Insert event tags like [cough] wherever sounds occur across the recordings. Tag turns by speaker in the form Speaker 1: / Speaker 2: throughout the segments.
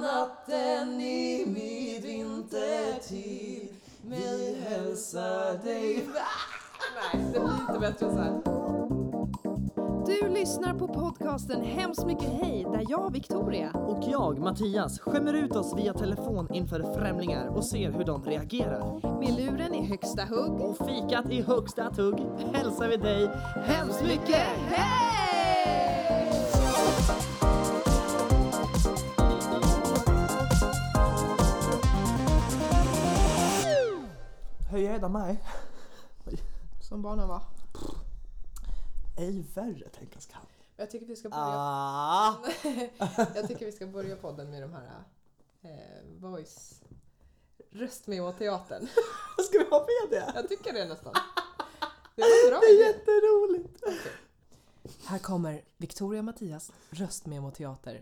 Speaker 1: natten i min vintertid. Vi hälsar dig... Nej, det blir inte bättre än så här.
Speaker 2: Du lyssnar på podcasten Hemskt mycket hej där jag, Victoria,
Speaker 3: Och jag, Mattias, skämmer ut oss via telefon inför främlingar och ser hur de reagerar.
Speaker 2: med luren i högsta hugg.
Speaker 3: Och fikat i högsta tugg hälsar vi dig hemskt mycket!
Speaker 2: hej!
Speaker 3: Hur är det mig?
Speaker 2: Som barnen var.
Speaker 3: Ej värre tänkas kan.
Speaker 1: Jag tycker vi ska börja,
Speaker 3: Ah!
Speaker 1: jag tycker vi ska börja podden med de här eh, voice... Röst med åt teatern.
Speaker 3: [laughs] Vad ska vi ha med det?
Speaker 1: Jag tycker det
Speaker 3: [laughs]
Speaker 1: nästan. Det var bra.
Speaker 3: Det är jätteroligt!
Speaker 1: Här kommer Victoria Mattias röstmemoteater.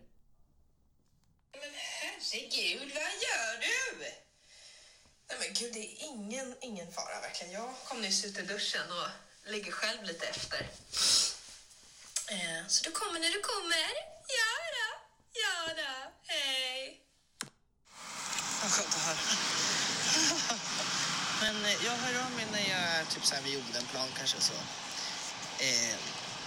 Speaker 4: Men herregud, vad gör du? Nej men gud, det är ingen, ingen fara verkligen. Jag kom nyss ut ur duschen och ligger själv lite efter. Eh, så du kommer när du kommer. Ja då, ja då, hej.
Speaker 5: Vad skönt att höra. [laughs] Men eh, jag hör av mig när jag är typ så här vid Odenplan kanske så. Eh,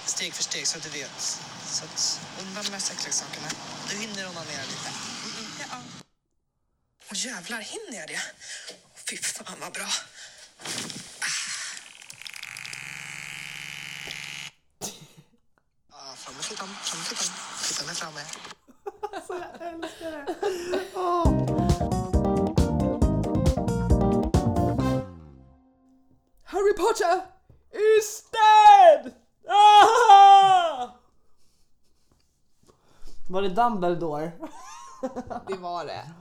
Speaker 5: steg för steg så att du vet. Så att undan med sexleksakerna. Du hinner onanera lite. Mm, ja. Och jävlar, hinner jag det? Fy fan vad bra. Ah. Ah, fram med flickan, fram med flickan. Flickan är framme.
Speaker 1: Harry Potter!
Speaker 3: Is dead! Ah! Var det Dumbledore?
Speaker 1: Det var det.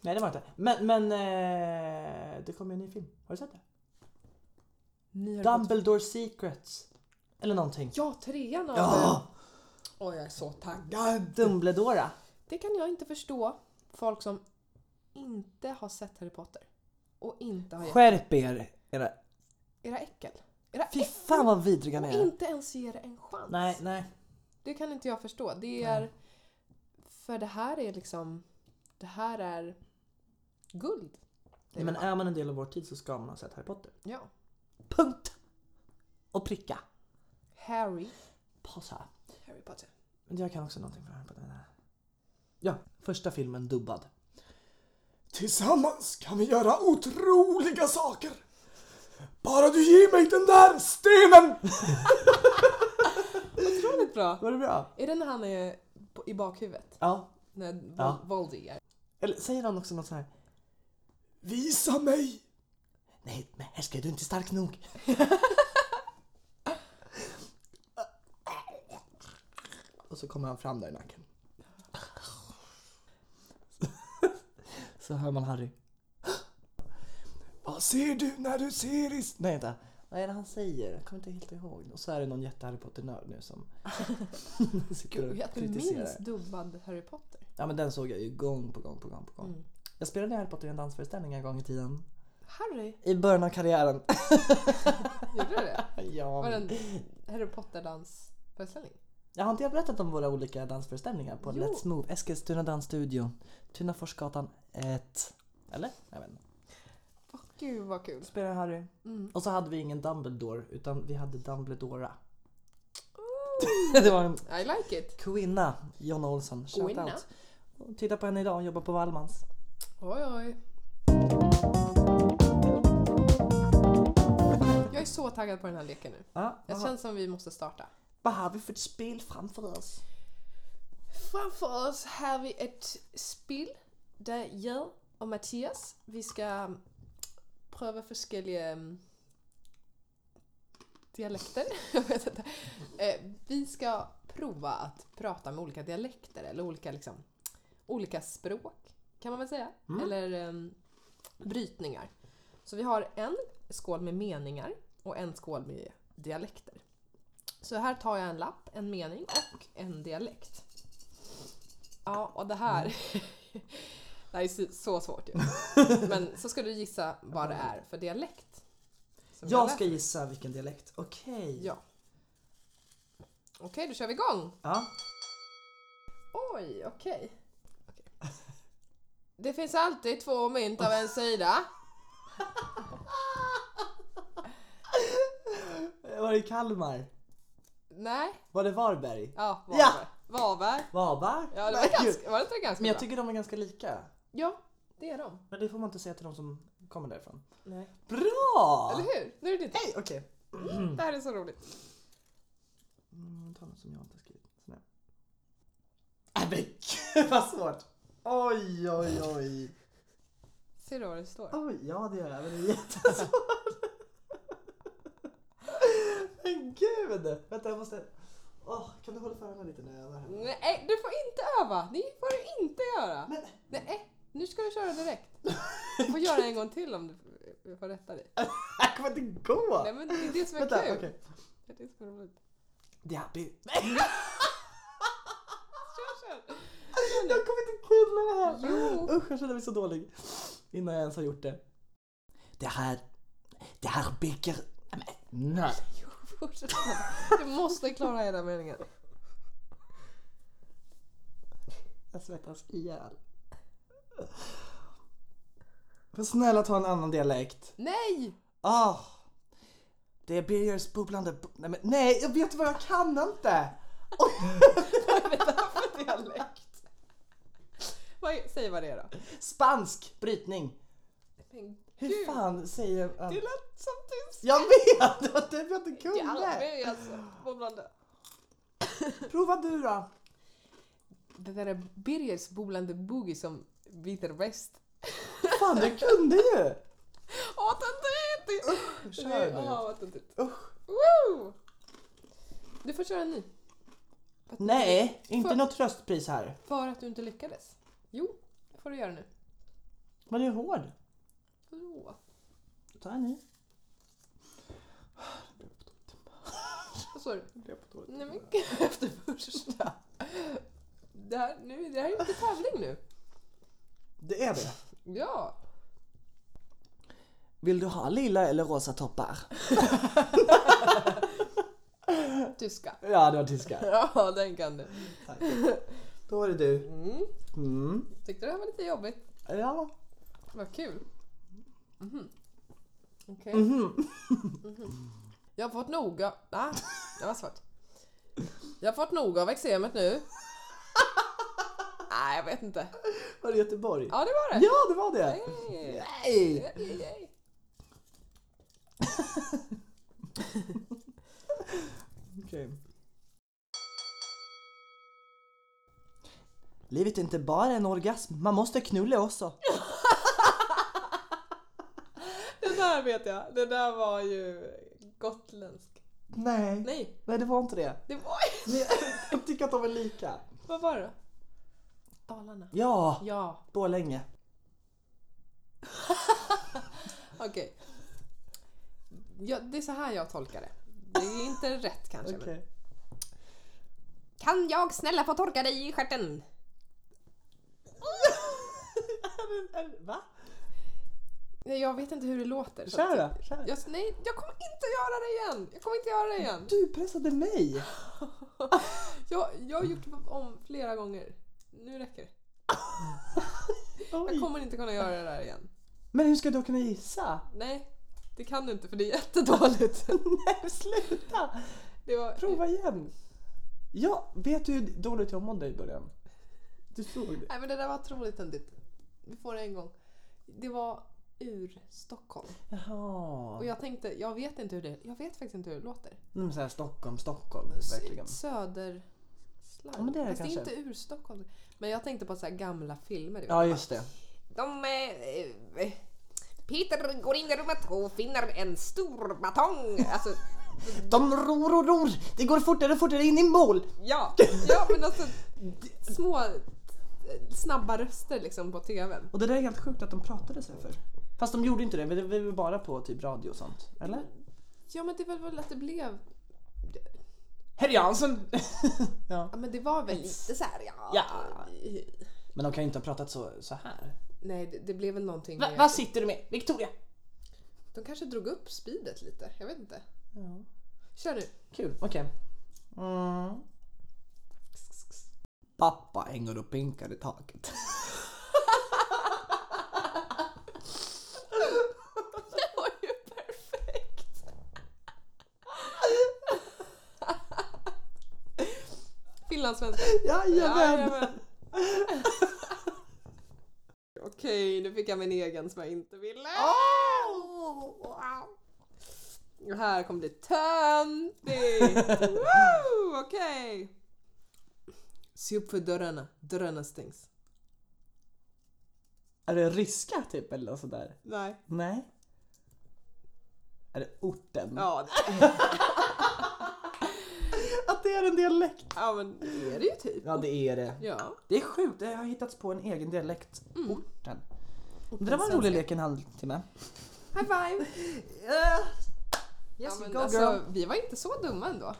Speaker 3: Nej det var det inte. Men, men eh, det kommer ju en ny film. Har du sett det?
Speaker 1: Ni har gått-
Speaker 3: Dumbledore Secrets. Eller någonting.
Speaker 1: Ja, trean av...
Speaker 3: Ja!
Speaker 1: Åh, jag är så taggad.
Speaker 3: Dumbledora.
Speaker 1: Det kan jag inte förstå. Folk som inte har sett Harry Potter. Och inte har...
Speaker 3: Skärp er! Era...
Speaker 1: Era äckel. Era
Speaker 3: Fy
Speaker 1: äckel.
Speaker 3: fan vad vidriga ni
Speaker 1: Och
Speaker 3: är.
Speaker 1: inte ens ger det en chans.
Speaker 3: Nej, nej.
Speaker 1: Det kan inte jag förstå. Det är... För det här är liksom... Det här är guld. Det är
Speaker 3: Men
Speaker 1: det.
Speaker 3: är man en del av vår tid så ska man ha sett Harry Potter.
Speaker 1: ja.
Speaker 3: Punkt! Och pricka.
Speaker 1: Harry.
Speaker 3: Passa.
Speaker 1: Harry Potter.
Speaker 3: Men jag kan också någonting från Harry Potter. Ja, första filmen dubbad. Tillsammans kan vi göra otroliga saker! Bara du ger mig den där stenen!
Speaker 1: Otroligt bra.
Speaker 3: Var det bra?
Speaker 1: Är det när han är på- i bakhuvudet?
Speaker 3: Ja.
Speaker 1: När Vol-
Speaker 3: Ja.
Speaker 1: Voldy är...
Speaker 3: Eller säger han också något så här. Visa mig! Nej, men härskar du är inte stark nog. [laughs] Och så kommer han fram där i nacken. [laughs] Så hör man Harry. [gasps] Vad ser du när du ser i... Nej, vänta. Vad är det han säger? Jag kommer inte helt ihåg. Och så är det någon jätte-Harry Potter-nörd nu [laughs] som sitter
Speaker 1: Gud,
Speaker 3: och
Speaker 1: jag minns
Speaker 3: kritiserar.
Speaker 1: dubbad Harry Potter.
Speaker 3: Ja men den såg jag ju gång på gång på gång på gång.
Speaker 1: Mm.
Speaker 3: Jag spelade i Harry Potter i en dansföreställning en gång i tiden.
Speaker 1: Harry?
Speaker 3: I början av karriären. [laughs]
Speaker 1: Gjorde du det?
Speaker 3: ja,
Speaker 1: Var det en
Speaker 3: men...
Speaker 1: Harry Potter-dansföreställning?
Speaker 3: Jag har inte jag berättat om våra olika dansföreställningar på
Speaker 1: Jo.
Speaker 3: Let's Move, Eskilstuna Dansstudio, Tunaforsgatan 1. Eller? Jag vet inte.
Speaker 1: Åh gud vad kul.
Speaker 3: Spelade Harry.
Speaker 1: Mm.
Speaker 3: Och så hade vi ingen Dumbledore utan vi hade Dumbledora. [laughs] det var en
Speaker 1: I like it.
Speaker 3: kvinna, Jonna Olsson.
Speaker 1: Kvinna?
Speaker 3: Shoutout. Titta på henne idag, hon jobbar på Wallmans.
Speaker 1: Oj oj. Jag är så taggad på den här leken nu.
Speaker 3: Ja,
Speaker 1: Jag
Speaker 3: vad,
Speaker 1: känns som vi måste starta.
Speaker 3: vad har vi för ett spel framför oss?
Speaker 1: Framför oss har vi ett spel där jag och Mattias, vi ska pröva mm, olika dialekter. [laughs] Jag vet inte. Eh, Vi ska prova att prata med olika dialekter eller olika, liksom, olika språk kan man väl säga.
Speaker 3: Mm.
Speaker 1: Eller um, brytningar. Så vi har en skål med meningar och en skål med dialekter. Så här tar jag en lapp, en mening och en dialekt. Ja, och det här...
Speaker 3: Mm.
Speaker 1: [laughs] det här är så- så svårt
Speaker 3: [laughs]
Speaker 1: ju. Men så ska du gissa vad det är för dialekt. som
Speaker 3: Jag
Speaker 1: läser.
Speaker 3: ska gissa vilken dialekt. Okej.
Speaker 1: Ja. Okej, då kör vi igång!
Speaker 3: Ja.
Speaker 1: Oj, okej. Okej. Det finns alltid två mynt av en sida.
Speaker 3: Eh, Var det i Kalmar?
Speaker 1: Nej,
Speaker 3: Var det Varberg?
Speaker 1: ja, Varberg.
Speaker 3: Ja!
Speaker 1: Varberg.
Speaker 3: Varberg?
Speaker 1: Ja, det
Speaker 3: Men
Speaker 1: var,
Speaker 3: gud.
Speaker 1: ganska, var det inte ganska
Speaker 3: Men jag
Speaker 1: bra?
Speaker 3: tycker de är ganska lika.
Speaker 1: Ja, det är de.
Speaker 3: Men det får man inte säga till de som kommer därifrån.
Speaker 1: Nej.
Speaker 3: Bra!
Speaker 1: Eller hur? Nu är det ditt.
Speaker 3: Hej! Okej.
Speaker 1: Det här är så roligt.
Speaker 3: Mm, ta något som jag inte har skrivit. Sådär. Äh, men gud vad svårt! Oj, oj, oj.
Speaker 1: Ser du vad det står?
Speaker 3: oj ja, det gör jag. Men det är jättesvårt. men gud! Vänta, jag måste... Åh, kan du hålla för mig lite när jag övar
Speaker 1: Mm.
Speaker 3: här?
Speaker 1: Nej, du får inte öva! Det får du inte göra!
Speaker 3: Men [laughs]
Speaker 1: Nej, nu ska du köra direkt. Du får göra en gång till om du får rätta dig.
Speaker 3: det här kommer inte gå!
Speaker 1: Nej men det är det som är
Speaker 3: Vänta,
Speaker 1: kul.
Speaker 3: okej.
Speaker 1: Det är det som är roligt.
Speaker 3: Det här blir...
Speaker 1: Kör, kör!
Speaker 3: Jag kommer inte kunna det här!
Speaker 1: Jo!
Speaker 3: Usch, jag känner mig så dålig. Innan jag ens har gjort det. Det här... Det här bygger... Nej, men Nej.
Speaker 1: Fortsätt. Du måste klara hela meningen.
Speaker 3: Jag svettas ihjäl. Men snälla ta en annan dialekt.
Speaker 1: Nej!
Speaker 3: Ah! Det är Birgers bubblande... bu- Nej, men, nej, jag vet vad jag kan inte!
Speaker 1: Dialekt. Vad är- Säg vad det är då.
Speaker 3: Spansk brytning.
Speaker 1: Men
Speaker 3: Hur fan säger...
Speaker 1: Det lät som tyst.
Speaker 3: Jag vet! Det var därför jag inte
Speaker 1: Det är
Speaker 3: kunde.
Speaker 1: alla med alltså. Bobblande.
Speaker 3: Prova du då.
Speaker 1: Det där är Birgers bobblande boogie som biter väst.
Speaker 3: Fan, jag kunde ju!
Speaker 1: Åh, töntigt!
Speaker 3: Kör nu.
Speaker 1: Åh, vad töntigt.
Speaker 3: Usch.
Speaker 1: Woo! Du får köra en ny.
Speaker 3: Nej, inte
Speaker 1: Får-
Speaker 3: något tröstpris här.
Speaker 1: För att du inte lyckades. Jo, det får du göra nu.
Speaker 3: Men du är hård.
Speaker 1: Vadå?
Speaker 3: Ta en ny.
Speaker 1: Vad sa du? Nej men [laughs] gud, efter första. Det här, nu, det här är inte tävling nu.
Speaker 3: Det är det.
Speaker 1: Ja.
Speaker 3: Vill du ha lila eller rosa toppar?
Speaker 1: Tyska.
Speaker 3: Ja, det var [laughs] tyska.
Speaker 1: Ja, den kan du.
Speaker 3: Tack. Då var det du.
Speaker 1: Mm.
Speaker 3: Mm.
Speaker 1: Tyckte det här var lite jobbigt.
Speaker 3: Ja.
Speaker 1: Vad kul. Mhm. Okej.
Speaker 3: Mhm.
Speaker 1: Jag har fått nog av... Ah, det var svårt. Jag har fått nog av eksemet nu. Nej, jag vet inte.
Speaker 3: Var det Göteborg?
Speaker 1: Ja, det var det.
Speaker 3: Ja, det var det.
Speaker 1: Yay.
Speaker 3: Nej!
Speaker 1: Yay, yay.
Speaker 3: Okej. Livet är inte bara en orgasm, man måste knulla också.
Speaker 1: Det där vet jag. Det där var ju gotländsk.
Speaker 3: Nej.
Speaker 1: Nej,
Speaker 3: Nej, det var inte det.
Speaker 1: det var
Speaker 3: Nej, [laughs] Jag tycker att de är lika.
Speaker 1: Vad var det då? Dalarna.
Speaker 3: Ja,
Speaker 1: Ja,
Speaker 3: Borlänge.
Speaker 1: okej. Ja, det är så här jag tolkar det. Det är inte rätt kanske. Men.
Speaker 3: Okej.
Speaker 1: Kan jag snälla få torka dig i stjärten?
Speaker 3: Va?
Speaker 1: Nej, jag vet inte hur det låter. så
Speaker 3: Kör
Speaker 1: att-
Speaker 3: då. Kör.
Speaker 1: Jag, nej, jag kommer inte göra det igen! Jag kommer inte göra det igen!
Speaker 3: Du pressade mig.
Speaker 1: Jag, jag har gjort om flera gånger. Nu räcker det.
Speaker 3: Oj.
Speaker 1: Jag kommer inte kunna göra det där igen.
Speaker 3: Men hur ska du kunna gissa? [laughs]
Speaker 1: Nej, det kan du inte för det är [laughs] jättedåligt.
Speaker 3: Nej, sluta!
Speaker 1: Det var,
Speaker 3: Prova igen. Ja, vet du hur dåligt jag mådde i början? Du såg det.
Speaker 1: Nej men det där var otroligt töntigt. Vi får det en gång. Det var ur Stockholm. Och
Speaker 3: Jaha.
Speaker 1: jag tänkte, jag vet inte hur det, jag vet faktiskt inte hur det låter.
Speaker 3: Nej, men så här Stockholm, Stockholm. Verkligen.
Speaker 1: Söder...
Speaker 3: Ja, men det är det
Speaker 1: Typ Fast
Speaker 3: kanske.
Speaker 1: det är inte ur Stockholm. Men jag tänkte på så här gamla filmer. du vet.
Speaker 3: Ja, just det.
Speaker 6: De... Eh, eh, Peter går in i rummet och finner en stor batong. Alltså,
Speaker 3: De ror och ror. Det går fortare och fortare in i mål.
Speaker 1: Ja, ja men alltså små eh, snabba röster liksom på TVn.
Speaker 3: Och det där är helt sjukt att de pratade så här för. Fast de gjorde inte det. men Det var väl bara på typ radio och sånt. Eller?
Speaker 1: Ja men det var väl att det blev,
Speaker 3: Herr Jansson! [laughs] ja.
Speaker 1: ja men det var väl lite så här,
Speaker 3: ja. Men de kan ju inte ha pratat så, så här.
Speaker 1: Nej det, det blev väl någonting
Speaker 3: Va,
Speaker 1: med-
Speaker 3: vad sitter du med? Victoria?
Speaker 1: De kanske drog upp speedet lite, jag vet inte.
Speaker 3: Ja.
Speaker 1: Kör nu.
Speaker 3: Kul, okej. Mm. [laughs] Pappa hänger och pinkar i taket.
Speaker 1: Finlandssvenska.
Speaker 3: Jajamän!
Speaker 1: Jajamän. Okej, nu fick jag min egen som jag inte ville. Det här kommer bli töntigt! Woo, Okej! Se upp för dörrarna, dörrarna stängs.
Speaker 3: Är det ryska typ eller något sådär?
Speaker 1: Nej.
Speaker 3: Nej. Är det orten?
Speaker 1: Ja, det,
Speaker 3: Att det är en dialekt!
Speaker 1: ja men det är det ju typ.
Speaker 3: Ja det är det.
Speaker 1: Ja.
Speaker 3: Det är sjukt, det har hittats på en egen dialekt. Orten. Det där var en rolig lek en halvtimme.
Speaker 1: High five!
Speaker 3: Yes
Speaker 1: Ja,
Speaker 3: you
Speaker 1: men
Speaker 3: go girl.
Speaker 1: alltså, vi var inte så dumma ändå.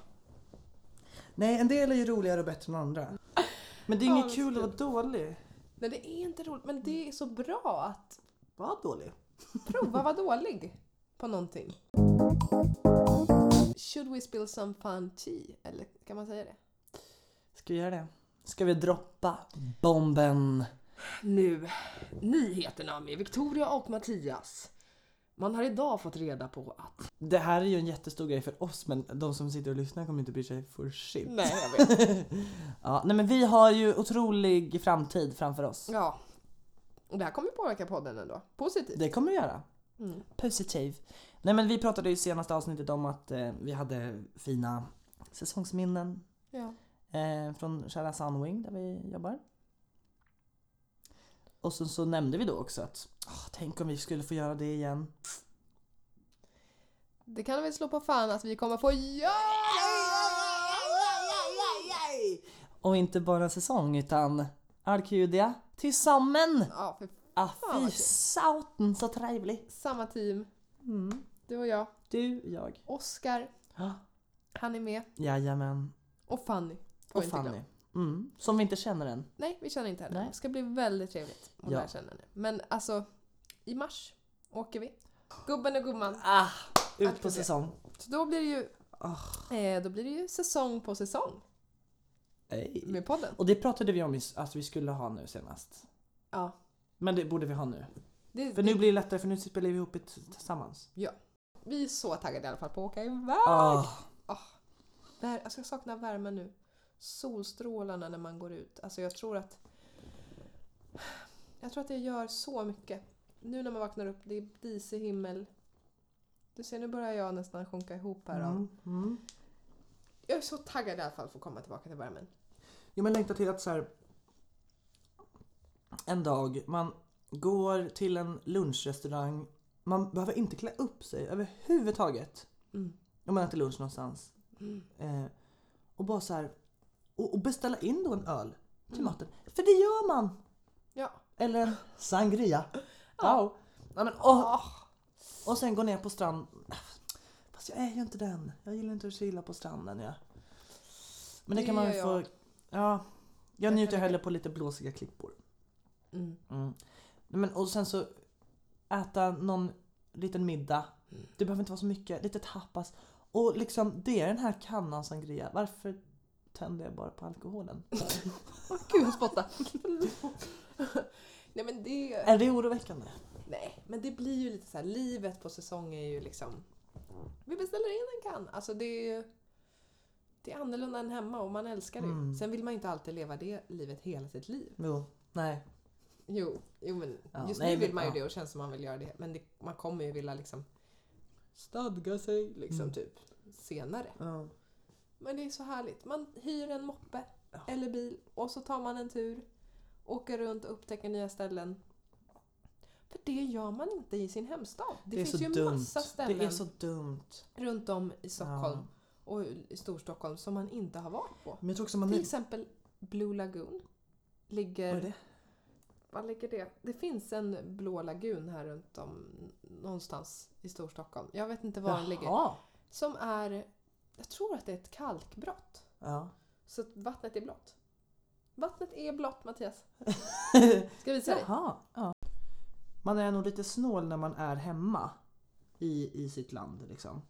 Speaker 3: Nej en del är ju roligare och bättre än andra. Men det är
Speaker 1: Ja,
Speaker 3: inget
Speaker 1: det är
Speaker 3: kul att
Speaker 1: kul.
Speaker 3: vara dålig.
Speaker 1: Nej, det är inte roligt, men det är så bra att
Speaker 3: Var dålig.
Speaker 1: prova att vara dålig på någonting. Should we spill some fun tea? Eller kan man säga det?
Speaker 3: Ska vi göra det? Ska vi droppa bomben?
Speaker 1: Nu, nyheterna med Victoria och Mattias. Man har idag fått reda på att...
Speaker 3: Det här är ju en jättestor grej för oss men de som sitter och lyssnar kommer inte bry sig för shit.
Speaker 1: Nej, jag [laughs] vet.
Speaker 3: Ja, nej men vi har ju otrolig framtid framför oss.
Speaker 1: Ja. Och det här kommer påverka podden ändå. Positivt.
Speaker 3: Det kommer vi göra.
Speaker 1: Mm.
Speaker 3: Positiv. Nej men vi pratade ju i senaste avsnittet om att eh, vi hade fina säsongsminnen
Speaker 1: Ja.
Speaker 3: eh, från kära Sunwing där vi jobbar. Och sen så nämnde vi då också att "Ah, tänk om vi skulle få göra det igen.
Speaker 1: Det kan vi slå på fan att vi kommer få göra!
Speaker 3: Och inte bara en säsong utan Arkudia tillsammans!
Speaker 1: Ja, för
Speaker 3: Ah,
Speaker 1: vad
Speaker 3: fy
Speaker 1: kul.
Speaker 3: sauten så trevligt!
Speaker 1: samma team.
Speaker 3: Mm.
Speaker 1: Du och jag.
Speaker 3: Du, jag.
Speaker 1: Oskar,
Speaker 3: Ah,
Speaker 1: han är med.
Speaker 3: jajamän.
Speaker 1: Och Fanny. Får
Speaker 3: Och
Speaker 1: inte glömma.
Speaker 3: Fanny. Mm. Som vi inte känner än.
Speaker 1: Nej, vi känner inte henne.
Speaker 3: Nej.
Speaker 1: Det ska bli väldigt trevligt att
Speaker 3: Ja.
Speaker 1: lära känna henne. Men alltså, i mars åker vi. Gubben och gumman.
Speaker 3: Ah,
Speaker 1: Tack
Speaker 3: ut
Speaker 1: för
Speaker 3: på
Speaker 1: det.
Speaker 3: säsong.
Speaker 1: Så då blir det ju,
Speaker 3: Ah.
Speaker 1: eh, då blir det ju säsong på säsong
Speaker 3: Ej.
Speaker 1: med podden.
Speaker 3: Och det pratade vi om i- att vi skulle ha nu senast.
Speaker 1: Ja.
Speaker 3: Men det borde vi ha nu.
Speaker 1: Det,
Speaker 3: För nu blir det lättare för nu spelar vi ihop det t- tillsammans.
Speaker 1: vi är så taggade i alla fall på att åka iväg.
Speaker 3: Ah,
Speaker 1: Vär, alltså jag saknar värmen nu. Solstrålarna när man går ut. Alltså jag tror att... Jag tror att det gör så mycket. Nu när man vaknar upp, det är disig himmel. Du ser, nu börjar jag nästan sjunka ihop här. av-
Speaker 3: mm. Mm.
Speaker 1: Jag är så taggad i alla fall för att komma tillbaka till värmen.
Speaker 3: Jo men längtar till att så här. En dag man går till en lunchrestaurang. Man behöver inte klä upp sig överhuvudtaget.
Speaker 1: Mm.
Speaker 3: Om man äter lunch någonstans. Eh, och bara så här. Och, och beställa in då en öl till maten. För det gör man!
Speaker 1: Mm. Ja.
Speaker 3: Eller en
Speaker 1: [laughs]
Speaker 3: sangria. Ja. Ja, men, åh.
Speaker 1: Ah.
Speaker 3: Och sen gå ner på strand. Fast jag är ju inte den. Jag gillar inte att chilla på stranden. Ja. Men det,
Speaker 1: Det
Speaker 3: kan man
Speaker 1: gör
Speaker 3: ju få.
Speaker 1: jag.
Speaker 3: Ja. Jag
Speaker 1: kan
Speaker 3: njuter
Speaker 1: jag-
Speaker 3: hellre på lite blåsiga klippor.
Speaker 1: Mm.
Speaker 3: Mm. Nej, Men, och sen så äta någon liten middag. Det behöver inte vara så mycket. Lite tapas. Och liksom det är den här kannan sangria. Varför tänder jag bara på alkoholen?
Speaker 1: Gud, jag spottar. [laughs] Nej men det...
Speaker 3: är det oroväckande?
Speaker 1: Nej, men det blir ju lite så här, livet på säsong är ju liksom... Vi beställer in en kan. Alltså det är ju... Det är annorlunda än hemma och man älskar det ju.
Speaker 3: Mm.
Speaker 1: Sen vill man inte alltid leva det livet hela sitt liv.
Speaker 3: Jo. Nej.
Speaker 1: Jo, jo men
Speaker 3: Ja,
Speaker 1: just
Speaker 3: nej,
Speaker 1: nu vill
Speaker 3: men-
Speaker 1: man ju
Speaker 3: ja.
Speaker 1: det och känns som man vill göra det. Men det, man kommer ju vilja liksom stadga sig liksom
Speaker 3: Mm.
Speaker 1: typ senare. Men det är så härligt. Man hyr en moppe eller bil och så tar man en tur. Åker runt och upptäcker nya ställen. För det gör man inte i sin hemstad. Det, finns ju massa ställen
Speaker 3: Det är så dumt.
Speaker 1: runt om i Stockholm
Speaker 3: Ja.
Speaker 1: och i Storstockholm som man inte har varit på.
Speaker 3: Men jag tror också man...
Speaker 1: Till exempel Blue Lagoon.
Speaker 3: Vad
Speaker 1: Ligger,
Speaker 3: är det?
Speaker 1: Var ligger det? Det finns en blå lagun här runt om någonstans i Storstockholm. Jag vet inte var den ligger.
Speaker 3: Jaha.
Speaker 1: Som är, jag tror att det är ett kalkbrott.
Speaker 3: Ja.
Speaker 1: Så att vattnet är blått. Vattnet är blått
Speaker 3: [laughs]
Speaker 1: Mattias. Ska jag visa dig?
Speaker 3: Jaha. Ja. Man är nog lite snål när man är hemma i, i sitt land. Liksom.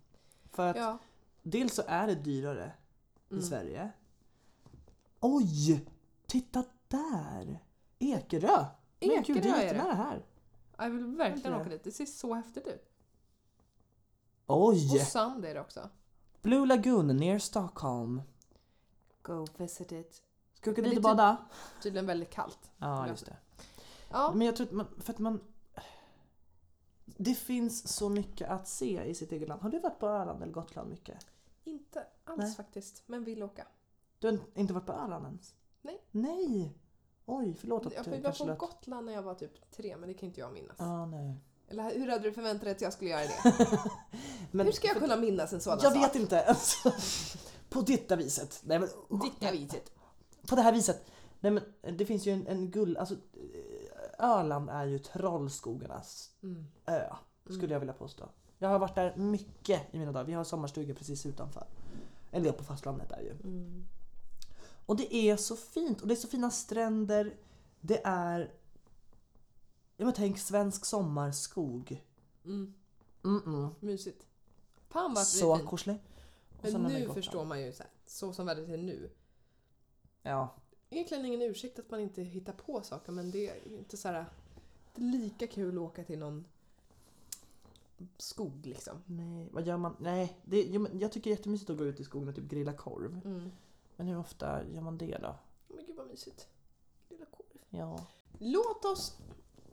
Speaker 3: För att
Speaker 1: Ja.
Speaker 3: dels så är det dyrare
Speaker 1: Mm.
Speaker 3: i Sverige. Oj! Titta där! Ekerö! Men gud, det
Speaker 1: Ekerö är
Speaker 3: är
Speaker 1: det.
Speaker 3: jättenära här.
Speaker 1: Jag vill verkligen
Speaker 3: Vänta.
Speaker 1: åka dit. Det ser så häftigt ut.
Speaker 3: Oj!
Speaker 1: Och sand är det också.
Speaker 3: Blue Lagoon near Stockholm.
Speaker 2: Go visit it.
Speaker 3: Ska vi åka
Speaker 1: Det är
Speaker 3: dit och
Speaker 1: typ-
Speaker 3: bada?
Speaker 1: Tydligen väldigt kallt.
Speaker 3: Ja, just det.
Speaker 1: Ja,
Speaker 3: Men jag tror att man, för att man... Det finns så mycket att se i sitt eget land. Har du varit på Öland eller Gotland mycket?
Speaker 1: inte alls
Speaker 3: Nej.
Speaker 1: faktiskt, men vill åka.
Speaker 3: Du har inte varit på Öland ens?
Speaker 1: Nej.
Speaker 3: Nej! Oj, förlåt att
Speaker 1: Jag
Speaker 3: du
Speaker 1: var
Speaker 3: kanske
Speaker 1: på
Speaker 3: lät...
Speaker 1: Gotland när jag var typ tre, men det kan inte jag minnas.
Speaker 3: Ja, nej.
Speaker 1: Eller hur hade du förväntat dig att jag skulle göra det?
Speaker 3: [laughs] Men-
Speaker 1: hur ska jag kunna minnas en sådan
Speaker 3: Jag
Speaker 1: sak?
Speaker 3: vet inte. [laughs] Alltså, på detta viset. Nej, men,
Speaker 1: Ditt viset.
Speaker 3: på det här viset. Nej, men, det finns ju en, en gull... Alltså, eh, Öland är ju trollskogarnas
Speaker 1: Mm.
Speaker 3: ö. Skulle jag vilja påstå. Jag har varit där mycket i mina dagar. Vi har en sommarstuga precis utanför. Eller på fastlandet där ju.
Speaker 1: Mm.
Speaker 3: Och det är så fint. Och det är så fina stränder. Det är... Ja men tänk svensk sommarskog.
Speaker 1: Mm.
Speaker 3: Mm-mm.
Speaker 1: Mysigt. Fan vad
Speaker 3: Så
Speaker 1: fint.
Speaker 3: korslig. Och sen
Speaker 1: Men
Speaker 3: har vi
Speaker 1: nu
Speaker 3: Gotland.
Speaker 1: förstår man ju så, här, så som världen är nu.
Speaker 3: Ja.
Speaker 1: Egentligen ingen ursäkt att man inte hittar på saker men det är inte så här det är lika kul att åka till någon skog liksom.
Speaker 3: Nej, vad gör man? Nej, det, jo, men jag tycker det är jättemysigt att gå ut i skogen och typ grilla korv.
Speaker 1: Mm.
Speaker 3: Men hur ofta gör man det då?
Speaker 1: Men gud vad mysigt. Lilla korv.
Speaker 3: Ja.
Speaker 1: Låt oss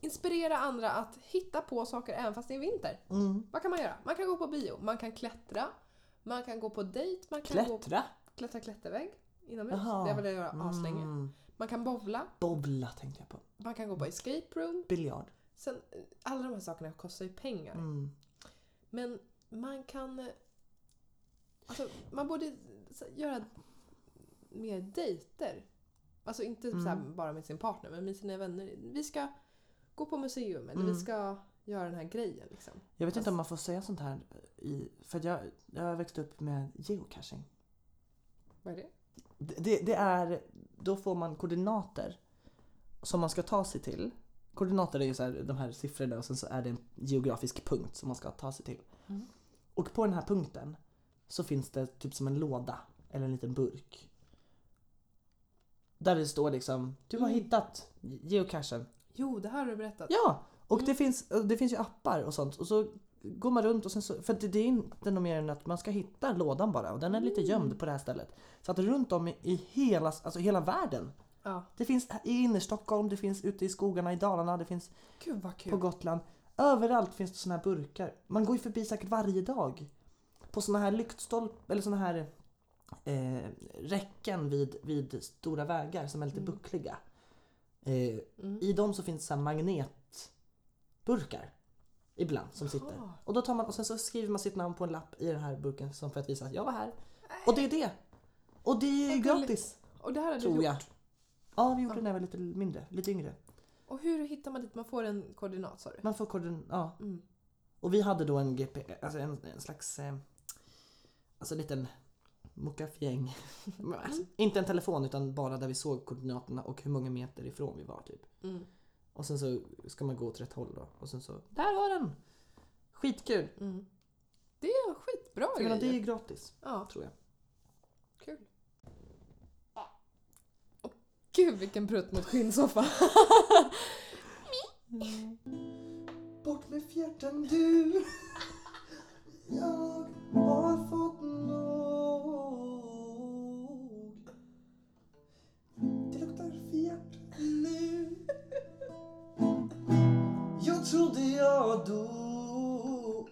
Speaker 1: inspirera andra att hitta på saker även fast det är vinter.
Speaker 3: Mm.
Speaker 1: Vad kan man göra? Man kan gå på bio, man kan klättra, man kan gå på dejt, man kan gå
Speaker 3: Klättra!
Speaker 1: klättra klättervägg inomhus.
Speaker 3: Jaha.
Speaker 1: Det har jag göra aslänge.
Speaker 3: Mm.
Speaker 1: Man kan bowla,
Speaker 3: Bobla tänkte jag på.
Speaker 1: man kan gå på escape room.
Speaker 3: Biljard.
Speaker 1: Sen, eh, alla de här sakerna kostar ju pengar.
Speaker 3: Mm.
Speaker 1: Men man kan... eh, Alltså, man borde så- göra mer dejter. Alltså inte
Speaker 3: Mm.
Speaker 1: så här bara med sin partner, men med sina vänner. Vi ska gå på museum eller
Speaker 3: Mm.
Speaker 1: vi ska göra den här grejen. Liksom.
Speaker 3: Jag vet inte
Speaker 1: Fast-
Speaker 3: om man får säga sånt här i... För att jag, jag växte upp med geocaching.
Speaker 1: Vad är det?
Speaker 3: Det, det- det är... Då får man koordinater som man ska ta sig till. Koordinater är ju så här, de här siffrorna och sen så är det en geografisk punkt som man ska ta sig till.
Speaker 1: Mm.
Speaker 3: Och på den här punkten så finns det typ som en låda eller en liten burk. Där det står liksom, du har
Speaker 1: Mm.
Speaker 3: hittat geocachen.
Speaker 1: Jo, det här har du berättat.
Speaker 3: Ja! Och
Speaker 1: Mm.
Speaker 3: det, finns, det finns ju appar och sånt. Och så går man runt och sen så, för det, det är inte något mer än att man ska hitta lådan bara och den är lite
Speaker 1: Mm.
Speaker 3: gömd på det här stället. Så att runt om i, i hela, alltså hela världen.
Speaker 1: Ja.
Speaker 3: Det finns i innerstockholm, det finns ute i skogarna i Dalarna, det finns
Speaker 1: Gud vad
Speaker 3: på
Speaker 1: kul.
Speaker 3: Gotland. Överallt finns det såna här burkar. Man går ju förbi säkert varje dag. På såna här lyktstolp eller såna här eh, räcken vid, vid stora vägar som är lite
Speaker 1: Mm.
Speaker 3: buckliga. Eh,
Speaker 1: Mm.
Speaker 3: I dem så finns så här magnetburkar ibland som sitter.
Speaker 1: Jaha.
Speaker 3: Och, då tar man, och sen så skriver man sitt namn på en lapp i den här burken som för att visa att jag var här. Och det är det! Och det är
Speaker 1: Vad
Speaker 3: gratis!
Speaker 1: Och det här har du
Speaker 3: Tror
Speaker 1: gjort.
Speaker 3: jag. Ja, vi gjorde det när jag var lite mindre, lite yngre.
Speaker 1: Och hur hittar man dit? Man får en koordinat sa du?
Speaker 3: Man får koordin- ja.
Speaker 1: Mm.
Speaker 3: Och vi hade då en GP, alltså en, en slags eh, alltså en liten mockafjäng. Men alltså, inte en telefon utan bara där vi såg koordinaterna och hur många meter ifrån vi var typ.
Speaker 1: Mm.
Speaker 3: Och sen så ska man gå åt rätt håll då och sen så där var den! Skitkul!
Speaker 1: Mm. Det är en skitbra
Speaker 3: För jag
Speaker 1: grej.
Speaker 3: menar, det är gratis
Speaker 1: Ja,
Speaker 3: tror jag.
Speaker 1: kul. Åh, Gud vilken prutt mot skinnsoffa.
Speaker 3: Bort med fjärten du! Jag har fått nog Det luktar fjärt nu Jag trodde jag dog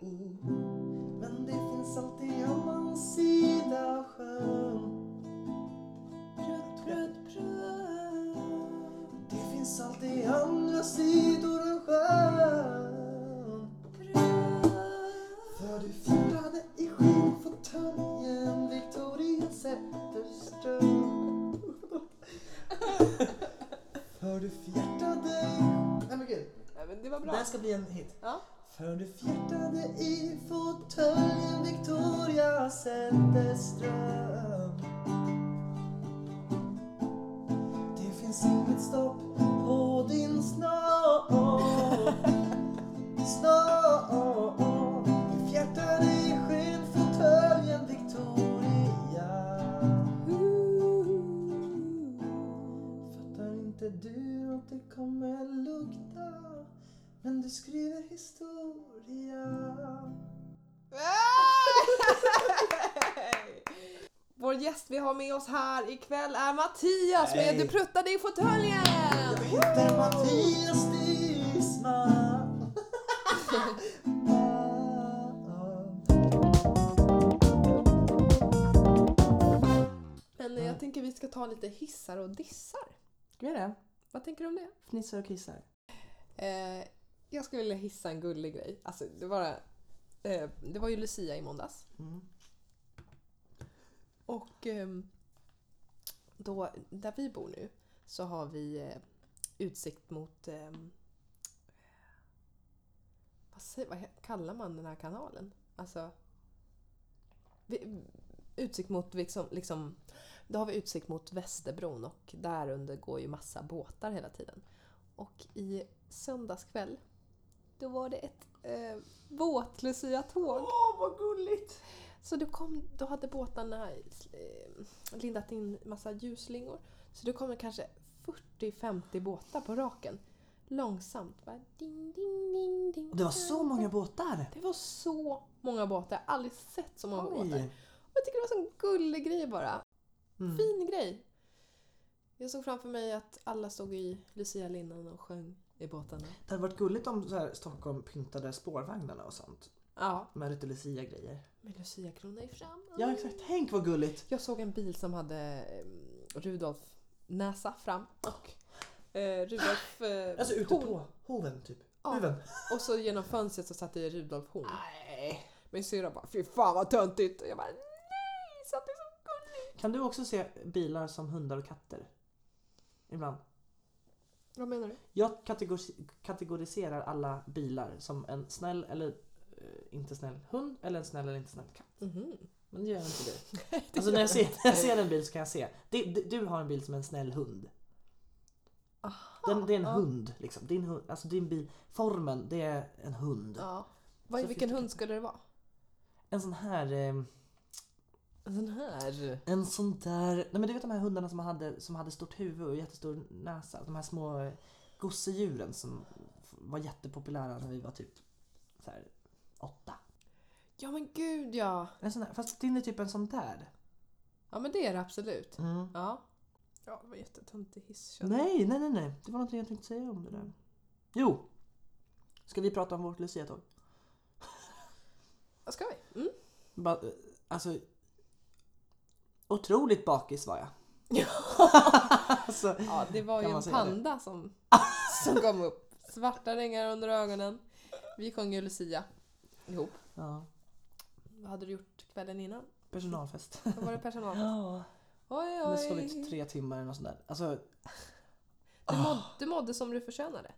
Speaker 3: Men det finns alltid en annan sida sjön Prutt, prutt, prutt Det finns alltid andra sidor än sjön För du fjärtade i skinnfåtöljen Victoria Zetterström För du fjärtade i... Nej men gud,
Speaker 1: Nej, men det var
Speaker 3: det
Speaker 1: bra.
Speaker 3: här ska bli en hit.
Speaker 1: Ja.
Speaker 3: För du fjärtade i fåtöljen Victoria Zetterström Det finns inget stopp på din snopp Snopp Du fjärtade i skinnfåtöljen Victoria Fattar inte du att det kommer lukta men du skriver historia
Speaker 1: Vår gäst vi har med oss här ikväll är Mattias med
Speaker 3: Hej. Mm.
Speaker 1: Du pruttade i fåtöljen!
Speaker 3: Inte Mattias Disman.
Speaker 1: Men eh, jag tänker vi ska ta lite hissar och dissar.
Speaker 3: Ska vi göra det?
Speaker 1: Vad tänker du om det?
Speaker 3: Fnissar och kissar.
Speaker 1: Eh, jag skulle vilja hissa en gullig grej. Alltså, det, var, eh, det var ju Lucia i måndags.
Speaker 3: Mm.
Speaker 1: Och ehm, då, där vi bor nu så har vi eh, utsikt mot... ehm, vad, säger, vad he- kallar man den här kanalen? Alltså... Vi, utsikt mot liksom, liksom... Då har vi utsikt mot Västerbron och där under går ju massa båtar hela tiden. Och i söndags kväll då var det ett eh, båt-Lucia-tåg.
Speaker 3: Åh, vad gulligt!
Speaker 1: Så då, kom, då hade båtarna eh, lindat in massa ljusslingor. Så då kommer kanske 40-50 båtar på raken. Långsamt. Bara ding, ding, ding, ding.
Speaker 3: Och det var så många båtar!
Speaker 1: Det var så många båtar. Jag har aldrig sett så många båtar.
Speaker 3: Oj!
Speaker 1: Och jag tycker det var en sån gullig grej bara.
Speaker 3: Mm.
Speaker 1: Fin grej. Jag såg framför mig att alla stod i Lucia-linnen och sjöng i båtarna.
Speaker 3: Det hade varit gulligt om så här, Stockholm pyntade spårvagnarna och sånt.
Speaker 1: Ja,
Speaker 3: Med lite Lucia-grejer.
Speaker 1: med Lucia-krona i fram.
Speaker 3: Ja exakt, tänk vad gulligt!
Speaker 1: Jag såg en bil som hade eh, Rudolf näsa fram och eh, Rudolf eh,
Speaker 3: Alltså ute
Speaker 1: horn.
Speaker 3: på hoven typ.
Speaker 1: Ja.
Speaker 3: Huven.
Speaker 1: Och så genom fönstret så satt det Rudolf horn.
Speaker 3: Nej.
Speaker 1: Min syrra bara “Fy fan vad töntigt” och jag bara “Nej, så att det är så gulligt”.
Speaker 3: Kan du också se bilar som hundar och katter? Ibland.
Speaker 1: Vad menar du?
Speaker 3: Jag kategori- kategoriserar alla bilar som en snäll eller eh, inte snäll hund eller en snäll eller inte snäll katt.
Speaker 1: [laughs]
Speaker 3: Men det gör inte du. Mhm. Alltså när jag, ser, när jag ser en bil så kan jag se. Det, det, du har en bil som en snäll hund. Den, det är en hund liksom. Din, hund, alltså din bil, formen det är en hund.
Speaker 1: Ja. Vad,
Speaker 3: Så
Speaker 1: vilken
Speaker 3: fick-
Speaker 1: hund skulle det vara?
Speaker 3: En sån här eh,
Speaker 1: En sån här.
Speaker 3: En sån där... Nej men du vet de här hundarna som hade, som hade stort huvud och jättestor näsa. De här små eh, gosedjuren som f- var jättepopulära när vi var typ så här, åtta.
Speaker 1: Ja men gud ja.
Speaker 3: En sån där, fast din är typ en sån där.
Speaker 1: Ja men det är det absolut.
Speaker 3: Mm.
Speaker 1: Ja. Ja det var jättetöntig hiss.
Speaker 3: Nej, nej, nej, nej. Det var någonting jag tänkte säga om det där. Jo! Ska vi prata om vårt luciatåg?
Speaker 1: Ska vi? Mm.
Speaker 3: Bara, eh, Alltså... Otroligt bakis var jag. [laughs] alltså,
Speaker 1: Ja, det var ju
Speaker 3: Kan
Speaker 1: en
Speaker 3: man säga det?
Speaker 1: panda
Speaker 3: [laughs]
Speaker 1: som, som kom upp. Svarta ringar under ögonen. Vi sjöng ju Lucia ihop.
Speaker 3: ja.
Speaker 1: Vad hade du gjort kvällen innan?
Speaker 3: Personalfest.
Speaker 1: Då var det
Speaker 3: [laughs]
Speaker 1: personal.
Speaker 3: Ja.
Speaker 1: Oj,
Speaker 3: Jag har
Speaker 1: oj.
Speaker 3: sovit tre timmar eller något sånt där. Alltså, Ah.
Speaker 1: Du, mådde, du mådde som du förtjänade.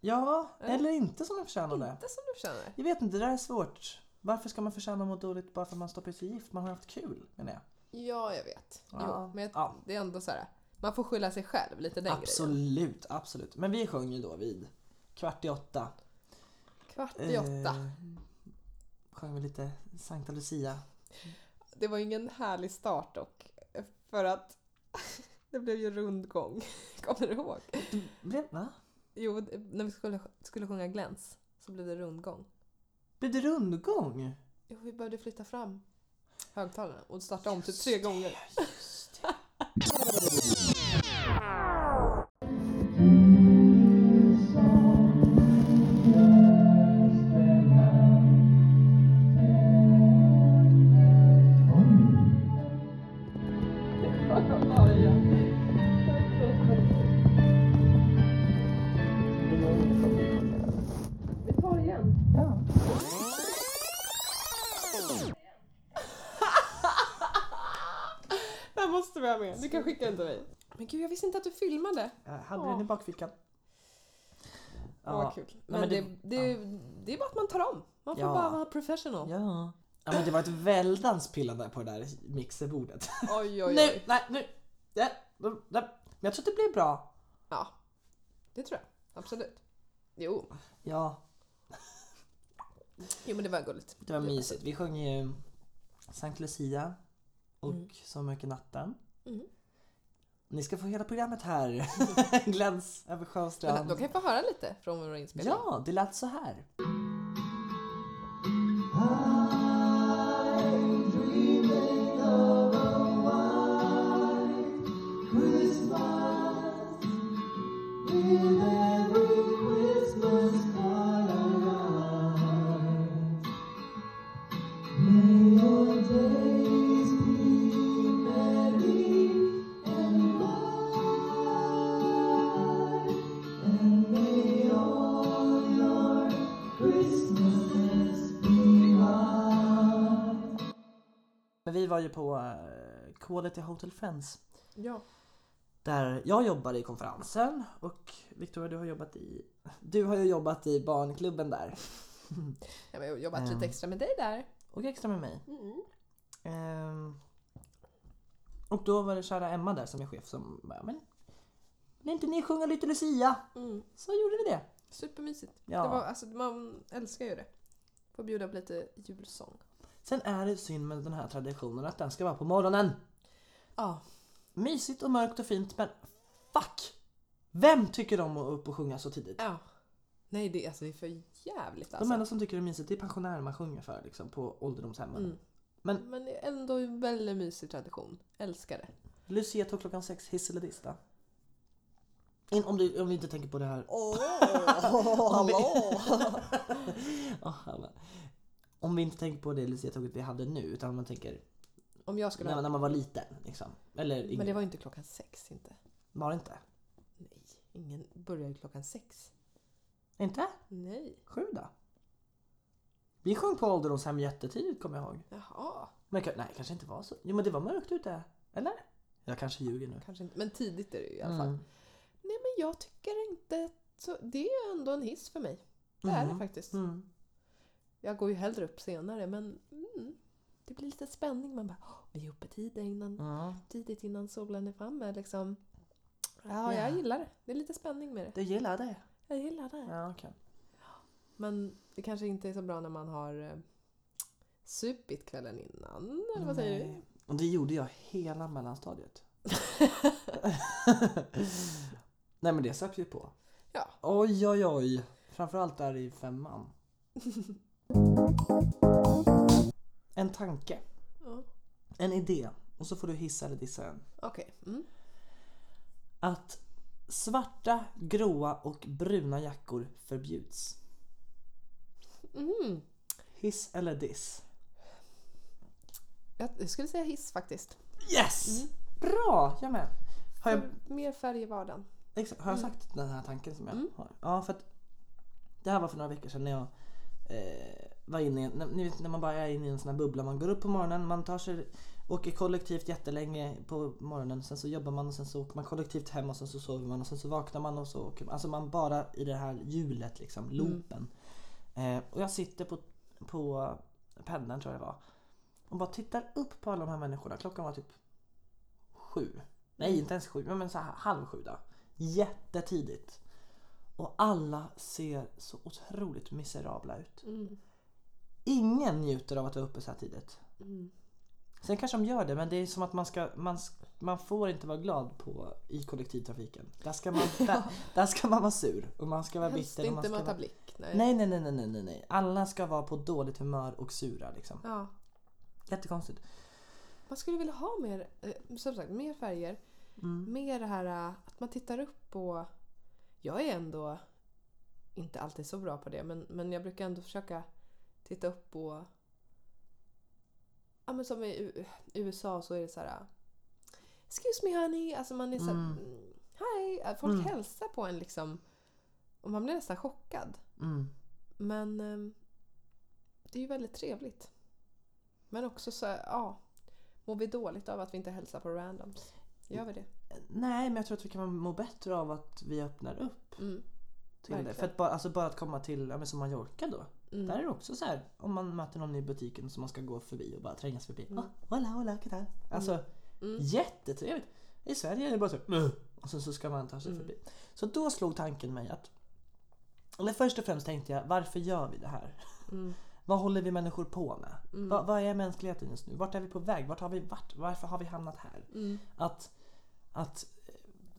Speaker 3: Ja,
Speaker 1: Eller?
Speaker 3: eller inte som man förtjänar det.
Speaker 1: Inte som du förtjänade.
Speaker 3: Jag vet inte, det där är svårt. Varför ska man förtjäna att må dåligt bara för att man stoppar i sig gift? Man har haft kul menar jag.
Speaker 1: Ja, jag vet. Jo,
Speaker 3: Ja.
Speaker 1: men jag,
Speaker 3: Ja.
Speaker 1: det är ändå så här. Man får skylla sig själv lite den grejen.
Speaker 3: absolut, absolut. Men vi sjöng ju då vid kvart i åtta.
Speaker 1: Kvart i åtta.
Speaker 3: Eh, sjöng vi lite Sankta Lucia.
Speaker 1: Det var ju ingen härlig start dock. För att [laughs] det blev ju rundgång. [laughs] Kommer du ihåg?
Speaker 3: Blev, va?
Speaker 1: Jo, när vi skulle, skulle sjunga Gläns så blev det rundgång.
Speaker 3: Blev det rundgång?
Speaker 1: Jo, vi behövde flytta fram högtalarna och starta om typ tre gånger.
Speaker 3: Just det.
Speaker 1: [laughs] Där måste vi ha med. Du kan skicka den till mig. Men gud, jag visste inte att du filmade.
Speaker 3: Jag hade den i bakfickan.
Speaker 1: Ja, vad kul. Men,
Speaker 3: Nej, men
Speaker 1: det,
Speaker 3: det-
Speaker 1: det, det är bara att man tar om. Man får
Speaker 3: Ja.
Speaker 1: bara vara professional.
Speaker 3: Ja. ja men det var ett väldans pillande på det där mixerbordet.
Speaker 1: Oj, oj,
Speaker 3: Nu,
Speaker 1: oj.
Speaker 3: nej, nu. Ja, nu, nej. Men jag tror att det blir bra.
Speaker 1: Ja, det tror jag. Absolut. Jo,
Speaker 3: Ja,
Speaker 1: jo men det var gulligt.
Speaker 3: det var mysigt. Vi sjöng ju Sankt Lucia och
Speaker 1: Mm.
Speaker 3: Så mycket natten.
Speaker 1: Mm.
Speaker 3: Ni ska få hela programmet här.
Speaker 1: [laughs]
Speaker 3: Gläns över
Speaker 1: Men
Speaker 3: Sjöstrand.
Speaker 1: då kan jag få höra lite från vår inspelning.
Speaker 3: Ja, det lät så här.
Speaker 7: I'm dreaming of a
Speaker 3: var ju på eh, Quality Hotel Friends.
Speaker 1: Ja.
Speaker 3: Där jag jobbar i konferensen och Victoria du har jobbat i... [laughs] Du har ju jobbat i barnklubben där.
Speaker 1: Jag har jobbat
Speaker 3: Ehm.
Speaker 1: lite extra med dig där. Mm.
Speaker 3: Och extra med mig. Ehm, och då var det kära Emma där som är chef som bara, men vill inte ni sjunga lite Lucia? Så gjorde vi det.
Speaker 1: Mm. Supermysigt.
Speaker 3: Ja.
Speaker 1: Det var, alltså, man älskar ju det. Får bjuda på lite julsång.
Speaker 3: Sen är det synd med den här traditionen att den ska vara på morgonen.
Speaker 1: Ja.
Speaker 3: Mysigt och mörkt och fint men fuck! Vem tycker om att upp och sjunga så tidigt?
Speaker 1: ja. Nej, det, alltså, det är för jävligt
Speaker 3: De
Speaker 1: alltså.
Speaker 3: enda som tycker det är mysigt det är pensionärer man sjunger för liksom, på ålderdomshemmen.
Speaker 1: Mm. Men det är ändå en väldigt mysig tradition. Älskar det.
Speaker 3: Lucia tog klockan sex, hiss eller diss då? In, om, du, om vi inte tänker på det här.
Speaker 6: Åh,
Speaker 3: [laughs] Om vi-
Speaker 6: hallå!
Speaker 3: [laughs] Åh, hallå. om vi inte tänker på det Lucia-tåget vi hade nu utan om man tänker
Speaker 1: Om jag skulle
Speaker 3: när,
Speaker 1: ha...
Speaker 3: när man var liten. Liksom. Eller yngre.
Speaker 1: Men det var ju inte klockan sex inte.
Speaker 3: var det inte?
Speaker 1: Nej, ingen börjar ju klockan sex.
Speaker 3: Inte?
Speaker 1: Nej.
Speaker 3: Sju då? Vi sjöng på ålderdomshem jättetidigt kommer jag ihåg.
Speaker 1: Jaha.
Speaker 3: Men, ka- nej, kanske inte var så. Jo men det var mörkt ute. Eller? Jag kanske ljuger nu.
Speaker 1: Kanske inte. Men tidigt är det ju i alla fall.
Speaker 3: Mm.
Speaker 1: Nej, men jag tycker inte... att- Så, det är ändå en hiss för mig. Det är det
Speaker 3: Mhm.
Speaker 1: faktiskt.
Speaker 3: Mm.
Speaker 1: Jag går ju hellre upp senare men mm, det blir lite spänning. Man bara, "Åh, vi är uppe tidigt innan,
Speaker 3: Ja.
Speaker 1: tidigt innan solen är framme liksom. Ja, jag
Speaker 3: Ja.
Speaker 1: gillar det. Det är lite spänning med det.
Speaker 3: Du gillar det?
Speaker 1: Jag gillar det.
Speaker 3: Ja okej.
Speaker 1: Men det kanske inte är så bra när man har eh, supit kvällen innan. Eller vad säger du?
Speaker 3: Nej. Och det gjorde jag
Speaker 1: [laughs]
Speaker 3: hela mellanstadiet. Nej men det söp ju på.
Speaker 1: Ja.
Speaker 3: Oj oj oj. Framförallt där
Speaker 1: [laughs]
Speaker 3: i femman. en tanke.
Speaker 1: [laughs] Ja.
Speaker 3: En idé. Och så får du hissa eller dissa en.
Speaker 1: Okej. Mm.
Speaker 3: Att svarta, gråa och bruna jackor förbjuds.
Speaker 1: Mm.
Speaker 3: Hiss eller diss?
Speaker 1: Jag jag skulle säga hiss faktiskt.
Speaker 3: Yes! Mm. Bra! Jag med. Har jag,
Speaker 1: För Mer färg i vardagen.
Speaker 3: Exakt, har jag sagt den här tanken som jag har? Ja, för att det här var för några veckor sedan när jag eh, var inne i, en- när- ni vet när man bara är inne i en sån här bubbla. Man går upp på morgonen, man tar sig, åker kollektivt jättelänge på morgonen. Sen så jobbar man och sen så åker man kollektivt hem och sen så sover man och sen så vaknar man och så åker man. Alltså man bara i det här hjulet liksom, loopen. Eh, och jag sitter på, på pendeln tror jag det var. Och bara tittar upp på alla de här människorna. Klockan var typ sju.
Speaker 1: Mm.
Speaker 3: Nej inte ens sju, men så här, halv sju då. Jättetidigt. Och alla ser så otroligt miserabla ut.
Speaker 1: Mm.
Speaker 3: Ingen njuter av att vara uppe så här tidigt.
Speaker 1: Mm.
Speaker 3: Sen kanske de gör det men det är som att man ska, man, sk- man får inte vara glad på, i kollektivtrafiken. Där ska, man, där,
Speaker 1: [laughs]
Speaker 3: där ska man vara sur och man ska vara
Speaker 1: Helst
Speaker 3: bitter. Och man
Speaker 1: inte
Speaker 3: ska
Speaker 1: möta
Speaker 3: vara...
Speaker 1: blick. Nej.
Speaker 3: Nej, nej, nej, nej, nej, nej, nej. Alla ska vara på dåligt humör och sura liksom.
Speaker 1: Ja.
Speaker 3: Jättekonstigt.
Speaker 1: Man skulle vilja ha mer, eh, som sagt, mer färger.
Speaker 3: Mm.
Speaker 1: Mer det här eh, att man tittar upp på... Jag är ändå inte alltid så bra på det men, men jag brukar ändå försöka titta upp på... Ja men som i U- USA så är det så här... eh, Excuse me honey! Alltså man är så här,
Speaker 3: Mm.
Speaker 1: mm. Hi! Eh, Folk
Speaker 3: Mm.
Speaker 1: hälsar på en liksom. Och man blir nästan chockad.
Speaker 3: Mm.
Speaker 1: Men ehm, det är ju väldigt trevligt. Men också så här, ja. Mår vi dåligt av att vi inte hälsar på randoms? Gör vi det?
Speaker 3: Nej, men jag tror att vi kan må bättre av att vi öppnar upp
Speaker 1: Mm.
Speaker 3: till det.
Speaker 1: Verkligen.
Speaker 3: För att bara, alltså bara att komma till, ja, men som Mallorca då.
Speaker 1: Mm.
Speaker 3: Där är det också så här, om man möter någon i butiken som man ska gå förbi och bara trängas förbi. Mm. hola, hola, qué tal? Alltså
Speaker 1: Mm.
Speaker 3: jättetrevligt. I Sverige är det bara så här, "Ugh", och sen så ska man ta sig
Speaker 1: Mm.
Speaker 3: förbi. Så då slog tanken mig att, eller först och främst tänkte jag, varför gör vi det här?
Speaker 1: Mm.
Speaker 3: Vad håller vi människor på med? Vad, vad är mänskligheten just nu? Vart är vi på väg? Vart har vi varit? Varför har vi hamnat här?
Speaker 1: Mm.
Speaker 3: Att, att,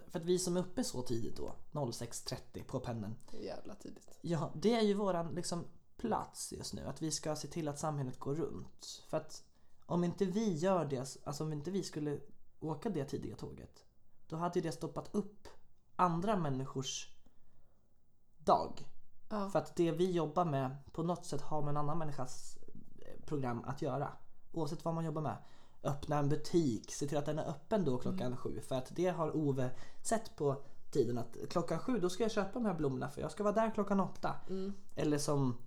Speaker 3: för att vi som är uppe så tidigt då, 06.30 på pendeln,
Speaker 1: Det är jävla tidigt.
Speaker 3: Ja, det är ju våran liksom plats just nu. Att vi ska se till att samhället går runt. För att om inte vi gör det, alltså om inte vi skulle åka det tidiga tåget. Då hade ju det stoppat upp andra människors dag.
Speaker 1: Ja.
Speaker 3: För att det vi jobbar med på något sätt har med en annan människas eh, program att göra. Oavsett vad man jobbar med. Öppna en butik, se till att den är öppen då klockan sju. För att det har Ove sett på tiden att klockan sju då ska jag köpa de här blommorna för jag ska vara där klockan åtta. Eller som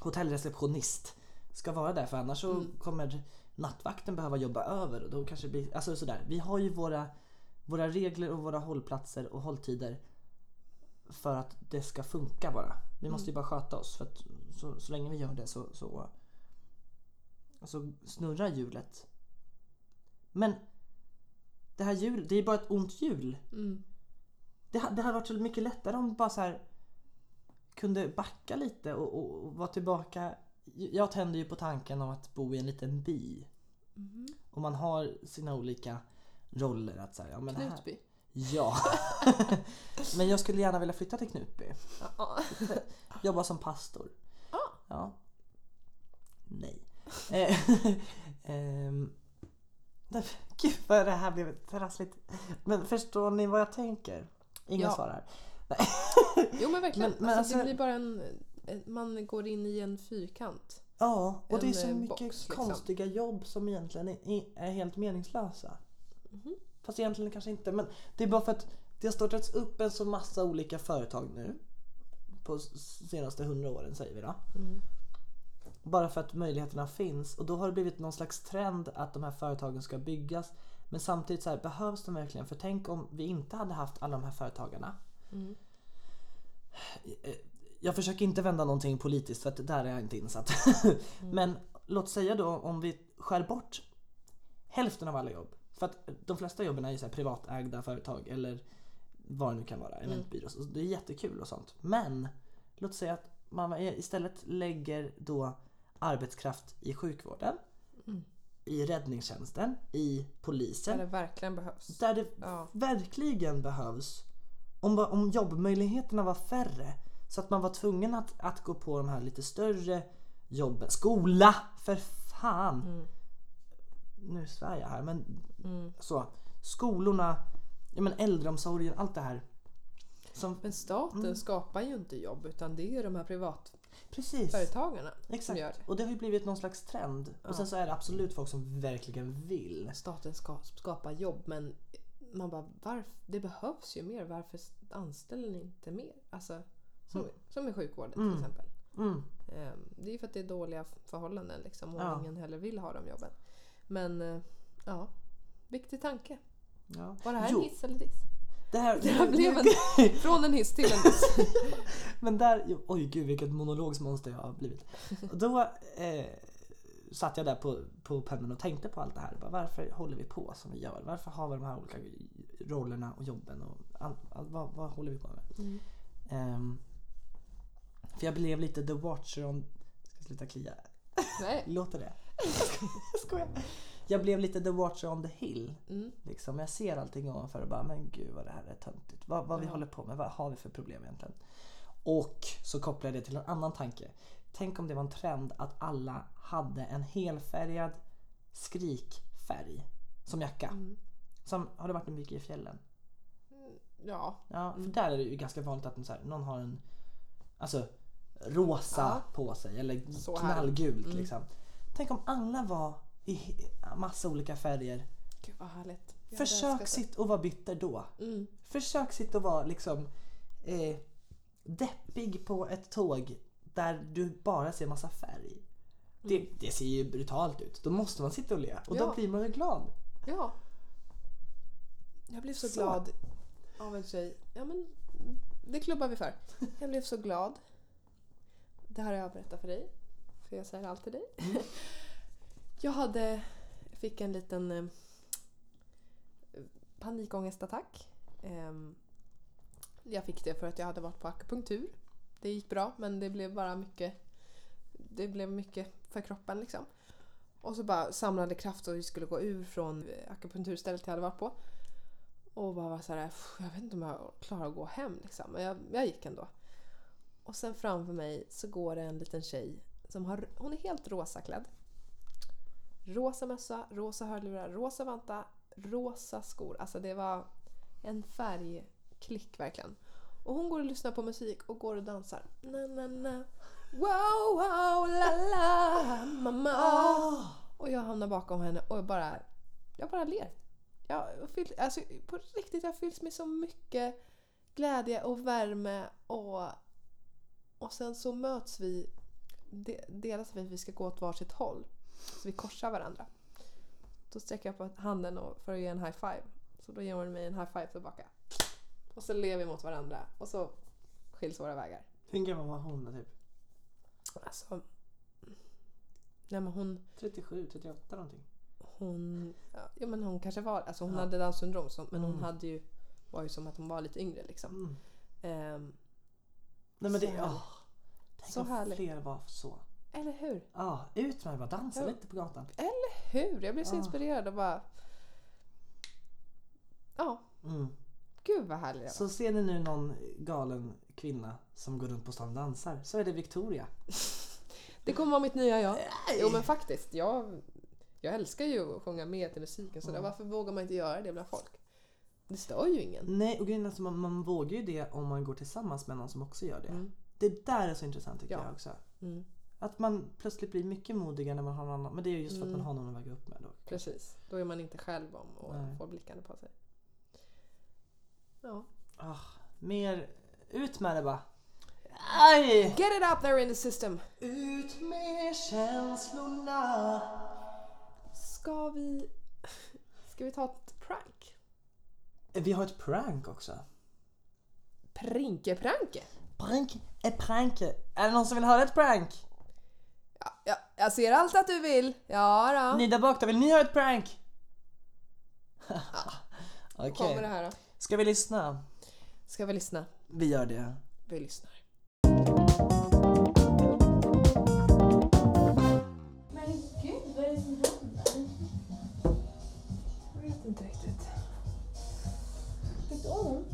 Speaker 3: hotellreceptionist ska vara där för annars så kommer nattvakten behöva jobba över och då kanske det blir, alltså sådär. Vi har ju våra, våra regler och våra hållplatser och hålltider för att det ska funka bara. Vi måste ju bara sköta oss för att så, så länge vi gör det så, så, så snurrar hjulet. Men det här hjulet, det är bara ett ont hjul.
Speaker 1: Mm.
Speaker 3: Det, ha- det hade varit så mycket lättare om vi bara så här kunde backa lite och, och, och vara tillbaka. Jag tänder ju på tanken om att bo i en liten by. Och man har sina olika roller. Att så här, ja, men det här,
Speaker 1: Knutby.
Speaker 3: Ja. [laughs] Men jag skulle gärna vilja flytta till Knutby. Jobba som pastor.
Speaker 1: Ah.
Speaker 3: Ja.
Speaker 1: [laughs]
Speaker 3: Nej. Eh, [laughs] ehm, därför- [laughs] Gud vad det här blev trassligt. Men förstår ni vad jag tänker? Ingen
Speaker 1: Ja.
Speaker 3: svarar.
Speaker 1: Jo men verkligen.
Speaker 3: Men- men
Speaker 1: alltså,
Speaker 3: alltså-
Speaker 1: det blir bara en... en- Man går in i en fyrkant.
Speaker 3: Ja, och det är
Speaker 1: En,
Speaker 3: så
Speaker 1: eh,
Speaker 3: mycket
Speaker 1: box, liksom.
Speaker 3: konstiga jobb som egentligen är, är helt meningslösa.
Speaker 1: Mhm.
Speaker 3: Fast egentligen kanske inte. Men det är bara för att det har startats upp en så massa olika företag nu. På s- senaste hundra åren säger vi då.
Speaker 1: Mm.
Speaker 3: Bara för att möjligheterna finns. Och då har det blivit någon slags trend att de här företagen ska byggas. Men samtidigt så här, behövs de verkligen? För tänk om vi inte hade haft alla de här företagarna.
Speaker 1: Mm.
Speaker 3: Jag försöker inte vända någonting politiskt för att där är jag inte insatt. Men låt säga då om vi skär bort hälften av alla jobb. För att de flesta jobben är ju så här privatägda företag eller vad det nu kan vara, eventbyråer. Så det är jättekul och sånt. Men låt säga att man istället lägger då arbetskraft i sjukvården, i räddningstjänsten, i polisen.
Speaker 1: Där det verkligen behövs.
Speaker 3: Där det
Speaker 1: Ja.
Speaker 3: verkligen behövs. Om, ba- om jobbmöjligheterna var färre. Så att man var tvungen att, att gå på de här lite större jobben. Skola! För fan!
Speaker 1: Mm.
Speaker 3: Nu svär jag här men så. Skolorna, ja, men äldreomsorgen, allt det här. Som,
Speaker 1: Men staten skapar ju inte jobb utan det är ju de här privatföretagarna
Speaker 3: precis.
Speaker 1: som
Speaker 3: Exakt.
Speaker 1: gör det.
Speaker 3: Och det har ju blivit någon slags trend. Och sen så är det absolut folk som verkligen vill.
Speaker 1: Staten ska skapa jobb men man bara varför? Det behövs ju mer. Varför anställer ni inte mer? Alltså, som, som i sjukvården till exempel.
Speaker 3: Mm.
Speaker 1: Ehm, Det är ju för att det är dåliga förhållanden liksom och
Speaker 3: Ja.
Speaker 1: ingen heller vill ha de jobben. Men eh, ja, viktig tanke.
Speaker 3: Ja.
Speaker 1: Var det här
Speaker 3: Jo,
Speaker 1: en hiss eller diss?
Speaker 3: det här,
Speaker 1: Det här blev en, från en hiss till en diss.
Speaker 3: Men där, oj gud vilket monologsmonster jag har blivit. Och Då eh, satt jag där på, på pennan och tänkte på allt det här. Bara, varför håller vi på som vi gör? Varför har vi de här olika rollerna och jobben? Och all, all, vad, vad håller vi på med? Ehm, för jag blev lite the watcher on... Ska sluta klia.
Speaker 1: Nej.
Speaker 3: Låter det? [laughs] Jag skojar. Jag blev lite the watcher on the hill.
Speaker 1: Mm.
Speaker 3: Liksom. Jag ser allting ovanför och bara, men gud vad det här är töntigt. Vad, vad vi håller på med, vad har vi för problem egentligen? Och så kopplar jag det till en annan tanke. Tänk om det var en trend att alla hade en helfärgad skrikfärg som jacka.
Speaker 1: Mm.
Speaker 3: Som, har det varit mycket i fjällen?
Speaker 1: Ja,
Speaker 3: Ja,
Speaker 1: Mm.
Speaker 3: för där är det ju ganska vanligt att så här, någon har en alltså, rosa på sig eller
Speaker 1: Så Mm. här.
Speaker 3: knallgult. Liksom. Tänk om alla var i he- massa olika färger.
Speaker 1: gud vad härligt. Jag hade
Speaker 3: Försök
Speaker 1: älskat det.
Speaker 3: sitt och vara bitter då.
Speaker 1: Mm.
Speaker 3: Försök sitt och vara liksom eh, deppig på ett tåg där du bara ser massa färg. Det, det ser ju brutalt ut. Då måste man sitta och le och då
Speaker 1: Ja.
Speaker 3: blir man ju glad.
Speaker 1: Ja. Jag blev så,
Speaker 3: Så.
Speaker 1: glad av en tjej. Ja, men det klubbar vi för. Jag blev så glad. Det här har jag berättat för dig. För jag säger allt till dig. Jag hade, fick en liten eh, panikångestattack. Ehm, Jag fick det för att jag hade varit på akupunktur. Det gick bra men det blev bara mycket Det blev mycket för kroppen liksom. Och så bara samlade kraft och vi skulle gå ur från akupunkturstället jag hade varit på. Och bara var så här, "Pff, jag vet inte om jag klarar att gå hem liksom. Men jag, jag gick ändå. Och sen framför mig så går det en liten tjej som har, hon är helt rosa klädd. Rosa mössa, rosa hörlurar, rosa vanta, rosa skor. Alltså det var en färgklick verkligen. Och hon går och lyssnar på musik och går och dansar. Na, na, na. Wow, wow, la, la, mamma. Och jag hamnar bakom henne och jag bara, jag bara ler. Jag fyll, alltså, på riktigt, jag fylls med så mycket glädje och värme och, och sen så möts vi, de, delas vi, vi ska gå åt varsitt håll. Så vi korsar varandra.
Speaker 2: Då sträcker jag på handen och för att ge en high five. Så då ger hon mig en high five tillbaka. Och så ler vi mot varandra och så skiljs våra vägar.
Speaker 3: Hur gammal var hon då typ?
Speaker 2: Alltså... Nej men hon...
Speaker 3: 37, 38 någonting.
Speaker 2: Hon, ja, men hon kanske var... Alltså hon
Speaker 3: Ja.
Speaker 2: hade Downs syndrom så, men hon
Speaker 3: Mm.
Speaker 2: hade ju... Var ju som att hon var lite yngre liksom.
Speaker 3: Mm.
Speaker 2: Ehm,
Speaker 3: Nej men det,
Speaker 2: Så härligt.
Speaker 3: ja. Tänk
Speaker 2: Så
Speaker 3: om
Speaker 2: härligt.
Speaker 3: fler var så.
Speaker 2: eller hur?
Speaker 3: Ja, ut med det bara. Dansa
Speaker 2: Ja.
Speaker 3: lite på gatan.
Speaker 2: Hur? Jag blev så
Speaker 3: Ah.
Speaker 2: inspirerad och bara... Ja,
Speaker 3: Mm.
Speaker 2: gud vad härlig jag var.
Speaker 3: Så ser ni nu någon galen kvinna som går runt på stan och dansar så är det Victoria.
Speaker 2: Det kommer vara mitt nya jag. Jo men faktiskt, jag, jag älskar ju att sjunga med till musiken sådär. Varför vågar man inte göra det bland folk? Det stör ju ingen.
Speaker 3: Nej och grejen är att man, man vågar ju det om man går tillsammans med någon som också gör det.
Speaker 2: Mm.
Speaker 3: Det där är så intressant tycker
Speaker 2: Ja.
Speaker 3: jag också.
Speaker 2: Mm,
Speaker 3: Att man plötsligt blir mycket modigare när man har någon annan. Men det är ju just för att man
Speaker 2: Mm.
Speaker 3: har någon att väga upp med då.
Speaker 2: precis, då är man inte själv om och
Speaker 3: Nej.
Speaker 2: får blickarna på sig. Ja.
Speaker 3: Ah, mer, ut med det bara. Aj!
Speaker 2: Get it out there in the system!
Speaker 3: Ut med känslorna.
Speaker 2: Ska vi...
Speaker 1: [laughs]
Speaker 2: Ska vi ta ett prank?
Speaker 3: Eh, Vi har ett prank också.
Speaker 2: Prinke-pranke?
Speaker 3: Prank är prank. Är det någon som vill höra ett prank?
Speaker 2: Ja, ja, jag ser allt att du vill. Ja, då.
Speaker 3: Ni där bak då, vill ni höra
Speaker 2: [laughs]
Speaker 3: ett prank? [laughs] Okej,
Speaker 2: kommer det här då.
Speaker 3: ska vi lyssna?
Speaker 2: Ska vi lyssna?
Speaker 3: Vi gör det.
Speaker 2: Vi lyssnar.
Speaker 7: Men gud, vad är det som händer?
Speaker 1: Jag vet inte riktigt.
Speaker 7: Fick du ont?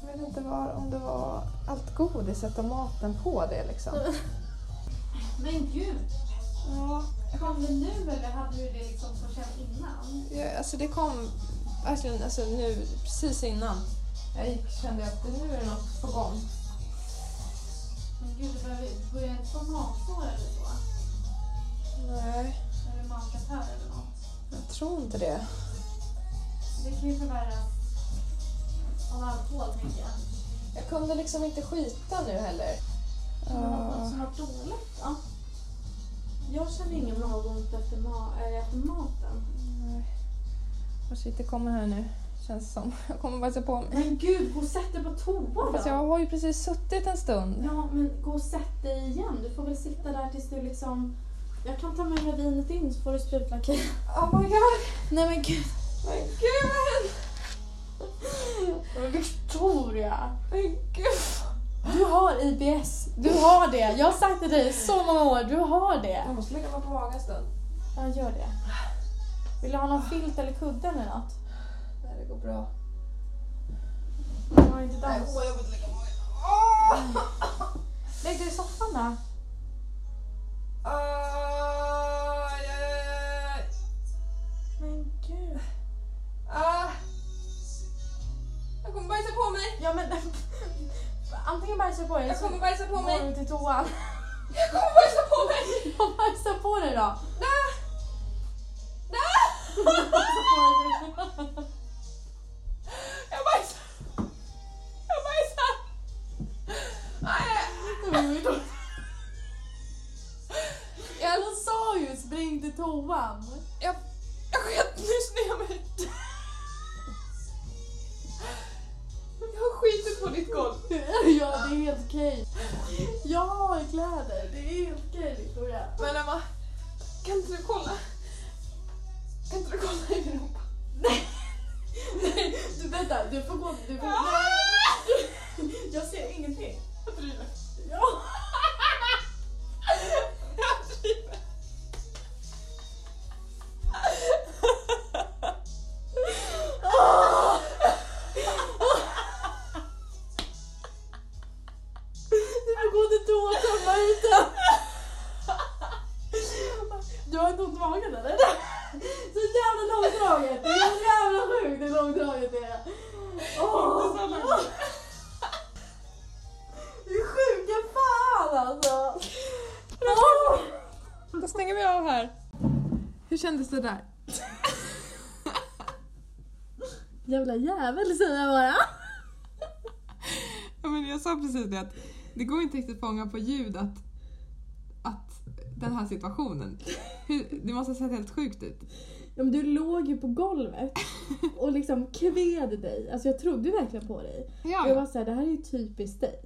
Speaker 1: Jag vet inte var, om det var allt godiset och maten på det
Speaker 2: [laughs]
Speaker 1: liksom.
Speaker 7: Men gud! Ja. Kom det nu eller hade du det liksom på känn innan?
Speaker 1: Ja, alltså det kom verkligen alltså nu precis innan jag gick kände jag att nu är det något på gång.
Speaker 7: Men gud, det behöver- börjar inte få magsår eller så?
Speaker 1: Nej,
Speaker 7: Eller magkatarr eller något?
Speaker 1: jag tror inte det.
Speaker 7: Det kan ju förvärras av alkohol tänker jag.
Speaker 1: Jag kunde liksom inte skita nu heller.
Speaker 7: Känner du något som har varit dåligt då? Jag känner ingen magont efter, ma- äh, efter maten.
Speaker 1: Och shit, det kommer här nu. Känns som. [laughs] Jag kommer bajsa på mig.
Speaker 7: Men gud, gå och sätt dig på toa
Speaker 1: Fast jag har ju precis suttit en stund.
Speaker 7: Ja, men gå och sätt dig igen. Du får väl sitta där tills du liksom... Jag kan ta med mig vinet in så får du sprutlacka
Speaker 1: Oh my god!
Speaker 7: Nej men gud.
Speaker 1: Men gud!
Speaker 7: Men Victoria!
Speaker 1: Men gud!
Speaker 7: Du har IBS. Du har det. Jag har sagt till dig i så många år. Du har det.
Speaker 1: Jag måste lägga mig på magen en stund.
Speaker 7: Ja, gör det. Vill du ha någon filt eller kudde eller något?
Speaker 1: Nej, det går bra.
Speaker 7: Du har inte dans. Lägg dig i soffan då.
Speaker 1: Aj, aj, aj, aj.
Speaker 7: Men gud.
Speaker 1: Ah. Jag kommer bajsa på mig!
Speaker 7: Ja men... Antingen bajsar du på dig
Speaker 1: Jag kommer bajsa på
Speaker 7: Går
Speaker 1: mig!
Speaker 7: du till toan.
Speaker 1: Jag kommer bajsa [laughs] på mig!
Speaker 7: [laughs] Jag bajsar på dig då.
Speaker 1: Ah. Jag bajsar! Jag bajsar! Aj,
Speaker 7: Jag
Speaker 1: alltså,
Speaker 7: sa ju spring till toan.
Speaker 1: jag jag sket nyss ner mig. Jag har skitit på ditt golv.
Speaker 7: Ja, det är helt okej. Jag har kläder. Det är helt okej Victoria.
Speaker 1: Men Emma, kan inte du kolla? Kan inte du kolla i min rumpa?
Speaker 7: Nej, [laughs] du vänta. Du får gå. Du får, nej. [laughs] Jag ser ingenting.
Speaker 1: Jag driver.
Speaker 7: Ja. [laughs]
Speaker 1: Jag driver.
Speaker 7: Du får gå till toan och tömma ut den. Du har inte ont i magen eller? Så jävla långdraget. Det är så jävla sjukt hur långdraget det är. Åh. [laughs] Du är sjuka fan alltså. Åh.
Speaker 2: Då stänger vi av här.
Speaker 1: Hur kändes det där?
Speaker 7: Jävla jävel säger jag bara.
Speaker 1: Ja, men jag sa precis det att det går inte riktigt att fånga på ljud att, att den här situationen.
Speaker 8: Hur, det måste ha sett helt sjukt ut.
Speaker 7: Ja, men du låg ju på golvet och liksom kved dig. Alltså jag trodde ju verkligen på dig.
Speaker 8: Ja,
Speaker 7: Jag var såhär, det här är ju typiskt dig.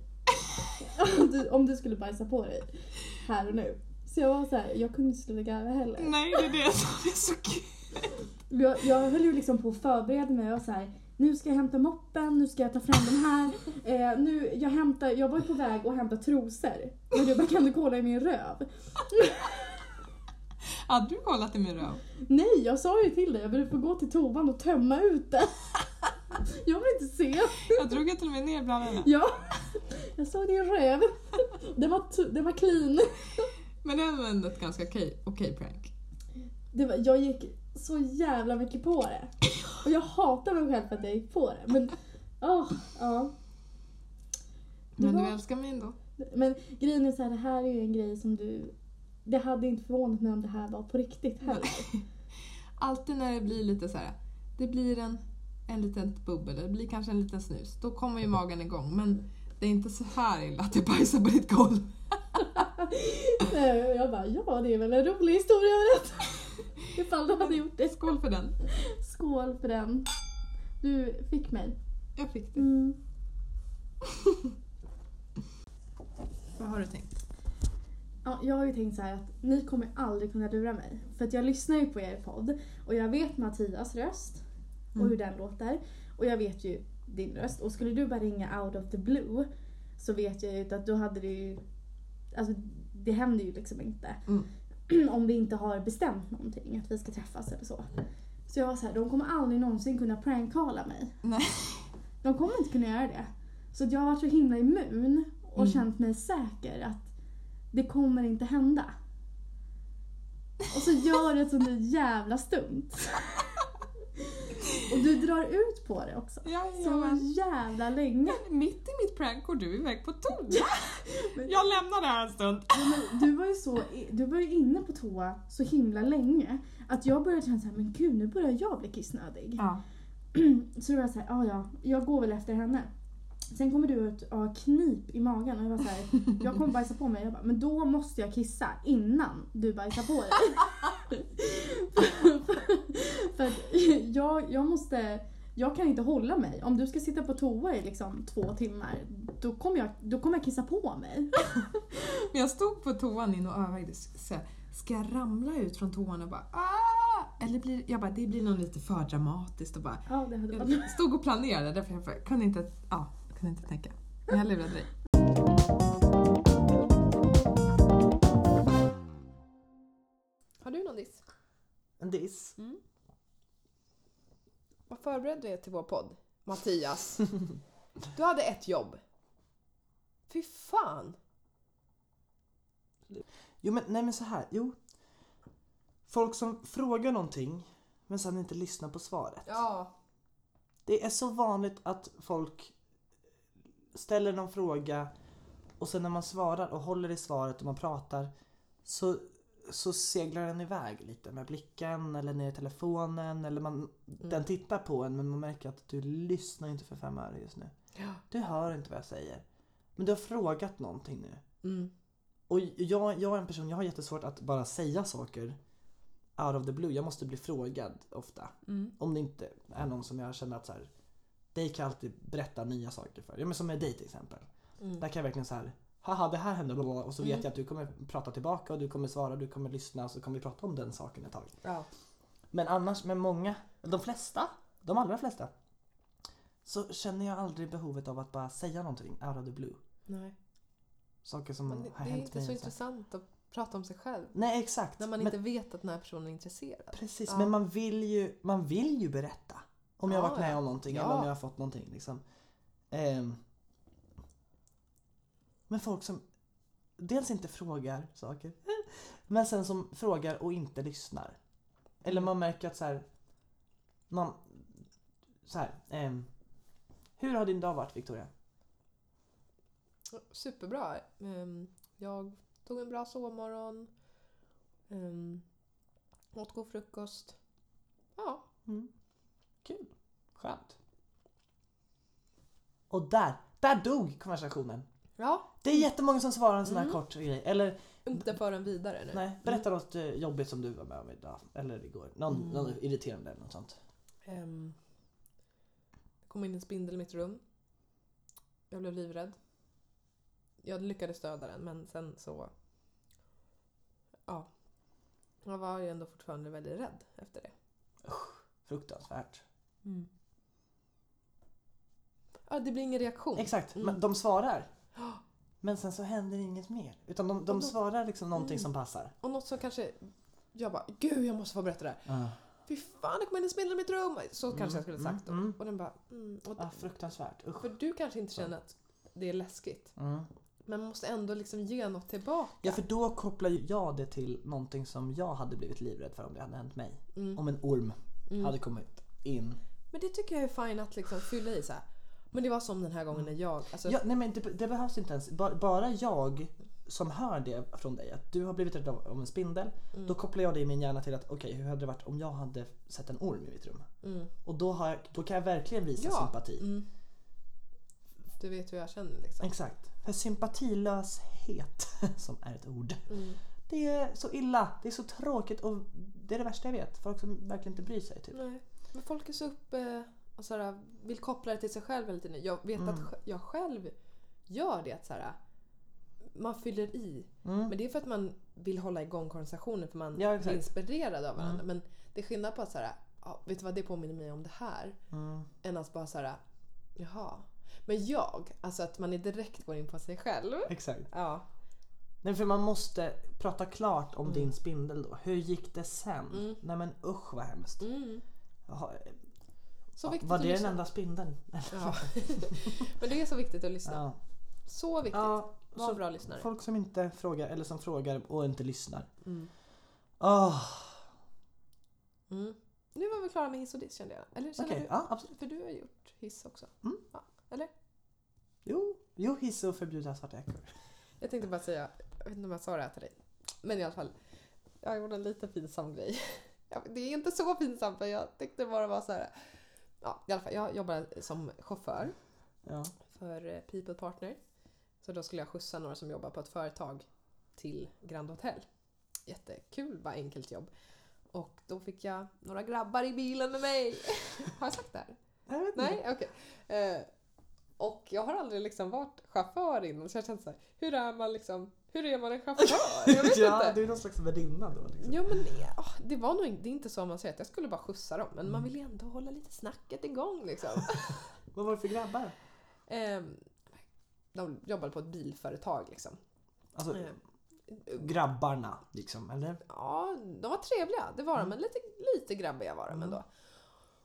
Speaker 7: om, du, om du skulle bajsa på dig. Här och nu. Så jag var såhär, jag kunde inte sluta garva heller.
Speaker 8: Nej, det är det jag sa. Det är så kul.
Speaker 7: Jag, jag höll ju liksom på att förbereda mig. Jag var så här, nu ska jag hämta moppen, nu ska jag ta fram den här. Eh, nu, jag, hämtar, jag var ju på väg att hämta trosor. Men du bara, kan du kolla i min röv?
Speaker 8: Hade du kollat i min röv?
Speaker 7: Nej, jag sa ju till dig, jag behöver gå till toan och tömma ut den. [laughs] Jag vill inte se.
Speaker 8: Jag drog ju till och med ner bland henne.
Speaker 7: Ja, jag såg din röv. Den var, tu- den var clean.
Speaker 8: Men det var ändå ett ganska okej, okej prank.
Speaker 7: Det var, jag gick så jävla mycket på det. Och jag hatar mig själv för att jag gick på det. Men, åh, ja. Det
Speaker 8: Men
Speaker 7: var-
Speaker 8: du älskar mig ändå.
Speaker 7: Men grejen är så här, det här är ju en grej som du... Det hade inte förvånat mig om det här var på riktigt heller.
Speaker 8: Alltid när det blir lite så här. det blir en, en liten bubbel, det blir kanske en liten snus. Då kommer ju magen igång. Men det är inte så här illa att jag bajsar på ditt golv.
Speaker 7: Nej, och jag bara, ja det är väl en rolig historia att berätta. Ifall du hade gjort det.
Speaker 8: Skål för den.
Speaker 7: Skål för den. Du fick mig.
Speaker 8: Jag fick det.
Speaker 7: Mm.
Speaker 8: [laughs] Vad har du tänkt?
Speaker 7: Ja, jag har ju tänkt så här att ni kommer aldrig kunna lura mig. För att jag lyssnar ju på er podd och jag vet Mattias röst och
Speaker 8: Mm.
Speaker 7: hur den låter. Och jag vet ju din röst. Och skulle du bara ringa out of the blue så vet jag ju att då hade det ju... Alltså det händer ju liksom inte.
Speaker 8: Mm.
Speaker 7: [clears throat] Om vi inte har bestämt någonting, att vi ska träffas eller så. Så jag var så här, de kommer aldrig någonsin kunna prankcalla mig.
Speaker 8: Nej.
Speaker 7: De kommer inte kunna göra det. Så att jag har varit så himla immun och känt mig säker att det kommer inte hända. Och så gör det ett sånt där jävla stumt. Och du drar ut på det också. Så
Speaker 8: Jajamän.
Speaker 7: jävla länge.
Speaker 8: Mitt i mitt prank går du iväg på toa.
Speaker 7: [laughs]
Speaker 8: Jag lämnar det här en stund.
Speaker 7: Du var ju, så, du var ju inne på toa så himla länge att jag började känna såhär, men gud nu börjar jag bli kissnödig.
Speaker 8: Ja.
Speaker 7: [clears throat] Så då var jag såhär, ja ja, jag går väl efter henne. Sen kommer du ut och har knip i magen och jag var såhär, jag kommer bajsa på mig. Jag bara, men då måste jag kissa innan du bajsar på dig. [laughs] För att jag, jag måste, jag kan inte hålla mig. Om du ska sitta på toa i liksom två timmar, då kommer jag, då kommer jag kissa på mig.
Speaker 8: Men jag stod på toan in och övervägde, så här, ska jag ramla ut från toan och bara ah! Eller blir, jag bara, det blir nog lite för dramatiskt och bara,
Speaker 7: Ja, det hade varit
Speaker 8: jag stod och planerade därför jag bara, kunde inte, ja, kunde inte tänka. Men jag lurade dig.
Speaker 1: Har du någon diss?
Speaker 3: En diss.
Speaker 1: Vad förberedde du er till vår podd? Mattias. Du hade ett jobb. Fy fan.
Speaker 3: Jo men nej men så här. Jo. Folk som frågar någonting men sen inte lyssnar på svaret.
Speaker 1: Ja.
Speaker 3: Det är så vanligt att folk ställer någon fråga och sen när man svarar och håller i svaret och man pratar så, så seglar den iväg lite med blicken eller ner i telefonen eller man, den tittar på en men man märker att du lyssnar inte för fem öre just nu. Du hör inte vad jag säger. Men du har frågat någonting nu.
Speaker 1: Mm.
Speaker 3: Och jag, jag är en person, jag har jättesvårt att bara säga saker out of the blue. Jag måste bli frågad ofta.
Speaker 1: Mm.
Speaker 3: Om det inte är någon som jag känner att så här, dig kan jag alltid berätta nya saker för. Ja, men som med dig till exempel.
Speaker 1: Mm.
Speaker 3: Där kan jag verkligen så här, haha det här hände blablabla. och så vet jag att du kommer prata tillbaka och du kommer svara, du kommer lyssna och så kommer vi prata om den saken ett tag.
Speaker 1: Ja.
Speaker 3: Men annars med många, de flesta, de allra flesta så känner jag aldrig behovet av att bara säga någonting out of the blue.
Speaker 1: Nej.
Speaker 3: Saker som
Speaker 1: Men det,
Speaker 3: Mm, har
Speaker 1: det är
Speaker 3: hänt
Speaker 1: inte
Speaker 3: mig.
Speaker 1: så
Speaker 3: och här.
Speaker 1: intressant att prata om sig själv.
Speaker 3: Nej exakt.
Speaker 1: När man
Speaker 3: Men-
Speaker 1: inte vet att den här personen är intresserad.
Speaker 3: Precis, men man vill ju, man vill ju berätta. Om jag
Speaker 1: Ja,
Speaker 3: varit med
Speaker 1: ja.
Speaker 3: om någonting
Speaker 1: Ja.
Speaker 3: eller om jag har fått någonting. Liksom. Ehm. men folk som dels inte frågar saker. [laughs] Men sen som frågar och inte lyssnar. Eller
Speaker 1: Mm.
Speaker 3: man märker att så här, någon, så här ehm, Hur har din dag varit Victoria?
Speaker 1: Superbra. Ehm, Jag tog en bra sovmorgon. ehm, Åt god frukost. Ja.
Speaker 3: Kul. Skönt. Och där, där dog konversationen.
Speaker 1: Ja.
Speaker 3: Det är jättemånga som svarar en sån här kort grej. Eller
Speaker 1: Inte föra en vidare nu.
Speaker 3: Mm. Nej, berätta något eh, jobbigt som du var med om idag. Eller igår. Någon, någon irriterande eller något sånt.
Speaker 1: Ehm, det kom in en spindel i mitt rum. Jag blev livrädd. Jag lyckades döda den men sen så... Ja. Jag var ju ändå fortfarande väldigt rädd efter det.
Speaker 3: Fruktansvärt.
Speaker 7: Mm.
Speaker 1: Ja, det blir ingen reaktion.
Speaker 3: Exakt, men de svarar. Men sen så händer inget mer. Utan de, de svarar liksom någonting som passar.
Speaker 1: Och något som kanske... Jag bara, gud jag måste få berätta det här.
Speaker 3: Ja.
Speaker 1: Fy fan det kom in en spindel i mitt rum! Så kanske jag skulle ha sagt. då.
Speaker 3: mm.
Speaker 1: Och den bara, mm. och
Speaker 3: Ah, fruktansvärt. Usch.
Speaker 1: För du kanske inte känner att det är läskigt.
Speaker 3: Mm.
Speaker 1: Men man måste ändå liksom ge något tillbaka.
Speaker 3: Ja, för då kopplar ju jag det till någonting som jag hade blivit livrädd för om det hade hänt mig. Om en orm hade kommit in.
Speaker 1: Men det tycker jag är fint att liksom fylla i så här. Men det var som den här gången när jag... Alltså,
Speaker 3: Ja, nej men det, det behövs inte ens. Bara, bara jag som hör det från dig, att du har blivit rädd av- om en spindel.
Speaker 1: Mm.
Speaker 3: Då kopplar jag det i min hjärna till att okej, hur hade det varit om jag hade sett en orm i mitt rum? Och då, har jag, då kan jag verkligen visa
Speaker 1: mm. Ja. Mm.
Speaker 3: sympati.
Speaker 1: Du vet hur jag känner liksom.
Speaker 3: Exakt. För sympatilöshet, [laughs] som är ett ord.
Speaker 1: Mm.
Speaker 3: Det är så illa, det är så tråkigt och det är det värsta jag vet. Folk som verkligen inte bryr sig. Typ.
Speaker 1: Nej. Men folk är så uppe och så här, vill koppla det till sig själv hela tiden. Jag
Speaker 3: Mm.
Speaker 1: vet att sj- jag själv gör det. att Så här, man fyller i. Men det är för att man vill hålla igång konversationen för man
Speaker 3: Mm. Ja,
Speaker 1: blir
Speaker 3: exakt. Mm.
Speaker 1: inspirerad av varandra. Men det är skillnad på att så här, ja, vet du vad det påminner mig om det här?
Speaker 3: Mm.
Speaker 1: Än att bara så här, jaha. Men jag, alltså att man direkt går in på sig själv.
Speaker 3: Exakt.
Speaker 1: Ja,
Speaker 3: Nej, för man måste prata klart
Speaker 1: Mm.
Speaker 3: om din spindel då. Hur gick det sen? Nej men usch vad hemskt.
Speaker 1: Mm.
Speaker 3: Jaha,
Speaker 1: så viktigt
Speaker 3: var
Speaker 1: att
Speaker 3: det den
Speaker 1: lyssna.
Speaker 3: enda spindeln?
Speaker 1: Ja. [laughs] Men det är så viktigt att lyssna.
Speaker 3: Ja.
Speaker 1: Så viktigt.
Speaker 3: Ja,
Speaker 1: Var
Speaker 3: så
Speaker 1: en bra lyssnare.
Speaker 3: Folk som inte frågar eller som frågar och inte lyssnar. Ah, Åh,
Speaker 1: Mm. Nu var vi klara med hiss och diss kände jag. Eller känner
Speaker 3: Okej,
Speaker 1: du?
Speaker 3: ja absolut.
Speaker 1: För du har gjort hiss också. Ja, eller?
Speaker 3: Jo, jo hiss och förbjuda svarta jackor.
Speaker 1: Jag tänkte bara säga, jag vet inte om jag sa det här till dig. Men i alla fall, jag gjorde en lite pinsam grej. [laughs] Ja, Det är inte så pinsamt men jag tyckte bara det var så här. Ja, i alla fall, jag jobbar som chaufför
Speaker 3: Ja.
Speaker 1: för eh, People Partner. Så då skulle jag skjutsa några som jobbar på ett företag till Grand Hotel. Jättekul, bara enkelt jobb. Och då fick jag några grabbar i bilen med mig. [laughs] Har jag sagt det här?
Speaker 3: Jag vet inte.
Speaker 1: Nej, okej. Eh, och jag har aldrig liksom varit chaufför innan så jag kände så här, hur är man liksom, hur är man en chaufför?
Speaker 3: [laughs]
Speaker 1: Jag vet
Speaker 3: ja,
Speaker 1: inte.
Speaker 3: du är någon slags värdinna då. Liksom.
Speaker 1: Ja men eh, ah, det var nog in- det är inte så man säger att jag skulle bara skjutsa dem men man vill ju ändå hålla lite snacket igång liksom.
Speaker 3: Vad var det för grabbar?
Speaker 1: Eh, de jobbade på ett bilföretag liksom.
Speaker 3: Alltså,
Speaker 1: Mm.
Speaker 3: grabbarna liksom, eller?
Speaker 1: Ja, de var trevliga, det var de, men lite, lite grabbiga var de ändå.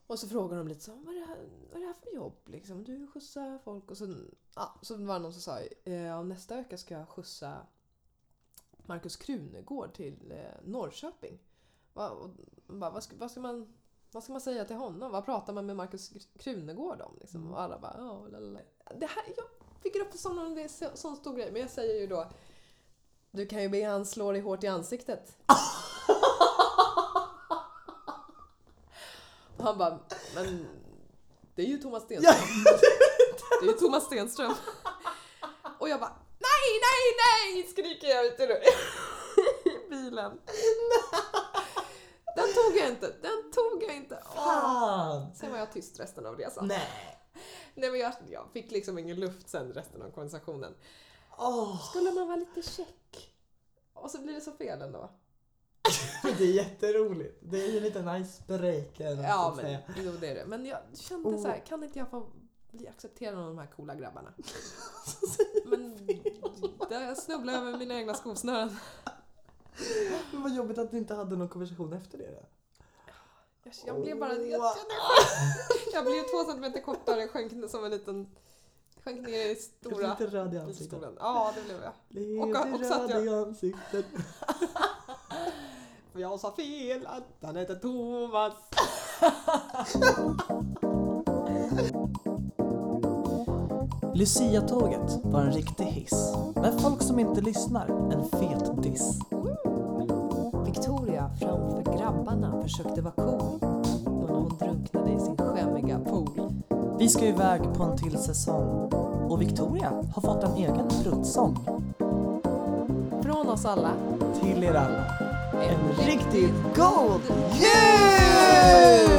Speaker 1: Och så frågade de lite så här, vad är det här, vad är det här för jobb liksom? Du skjutsar folk och så, ja, så var det någon som sa, eh, ja, nästa vecka ska jag skjutsa Markus Krunegård till eh, Norrköping. Va, och, bara, vad, ska, vad, ska man, vad ska man säga till honom? Vad pratar man med Markus Kr- Krunegård om? Liksom? Och alla bara, ja, lalala. Det här, jag fick upp det som om det är så- sån stor grej, men jag säger ju då, du kan ju be han slå dig hårt i ansiktet. Och han bara, men det är ju Thomas Stenström. Det är ju Thomas Stenström. Och jag bara, nej, nej, nej, skriker jag ut ur i [laughs] bilen. Den tog jag inte, den tog jag inte. Åh.
Speaker 3: Fan!
Speaker 1: Sen var jag tyst resten av resan. Nej,
Speaker 3: Nej!
Speaker 1: men jag, jag fick liksom ingen luft sen resten av konversationen.
Speaker 3: Åh,
Speaker 1: Skulle man vara lite check? Och så blir det så fel ändå.
Speaker 3: det är jätteroligt. Det är ju lite icebreaker. så
Speaker 1: Ja,
Speaker 3: att
Speaker 1: men
Speaker 3: säga. Oh.
Speaker 1: jo, det är det. Men jag kände så här, kan inte jag få bli accepterad av de här coola
Speaker 3: [laughs]
Speaker 1: grabbarna? men där jag snubblade över mina egna skosnören.
Speaker 3: Men vad jobbigt att ni inte hade någon konversation efter det. Då.
Speaker 1: Jag, jag blev bara... Jag, jag, jag blev två centimeter kortare, sjönk som en liten... Sjönk ner i
Speaker 3: Jag blev
Speaker 1: stora
Speaker 3: lite röd i ansiktet.
Speaker 1: bilstolen. Ja, det blev jag.
Speaker 3: Lite
Speaker 1: Och- och så att
Speaker 3: röd i ansiktet.
Speaker 1: [laughs] För jag sa fel att han heter Thomas.
Speaker 3: [laughs] Lucia-tåget var en riktig hiss. Men folk som inte lyssnar, en fet diss.
Speaker 2: Victoria framför grabbarna försökte vara cool men hon drunknade i sin skämmiga pool.
Speaker 3: Vi ska iväg på en till säsong och Victoria har fått en egen bruttsång.
Speaker 1: Från oss alla. [laughs]
Speaker 3: Till er alla. En riktigt god jul!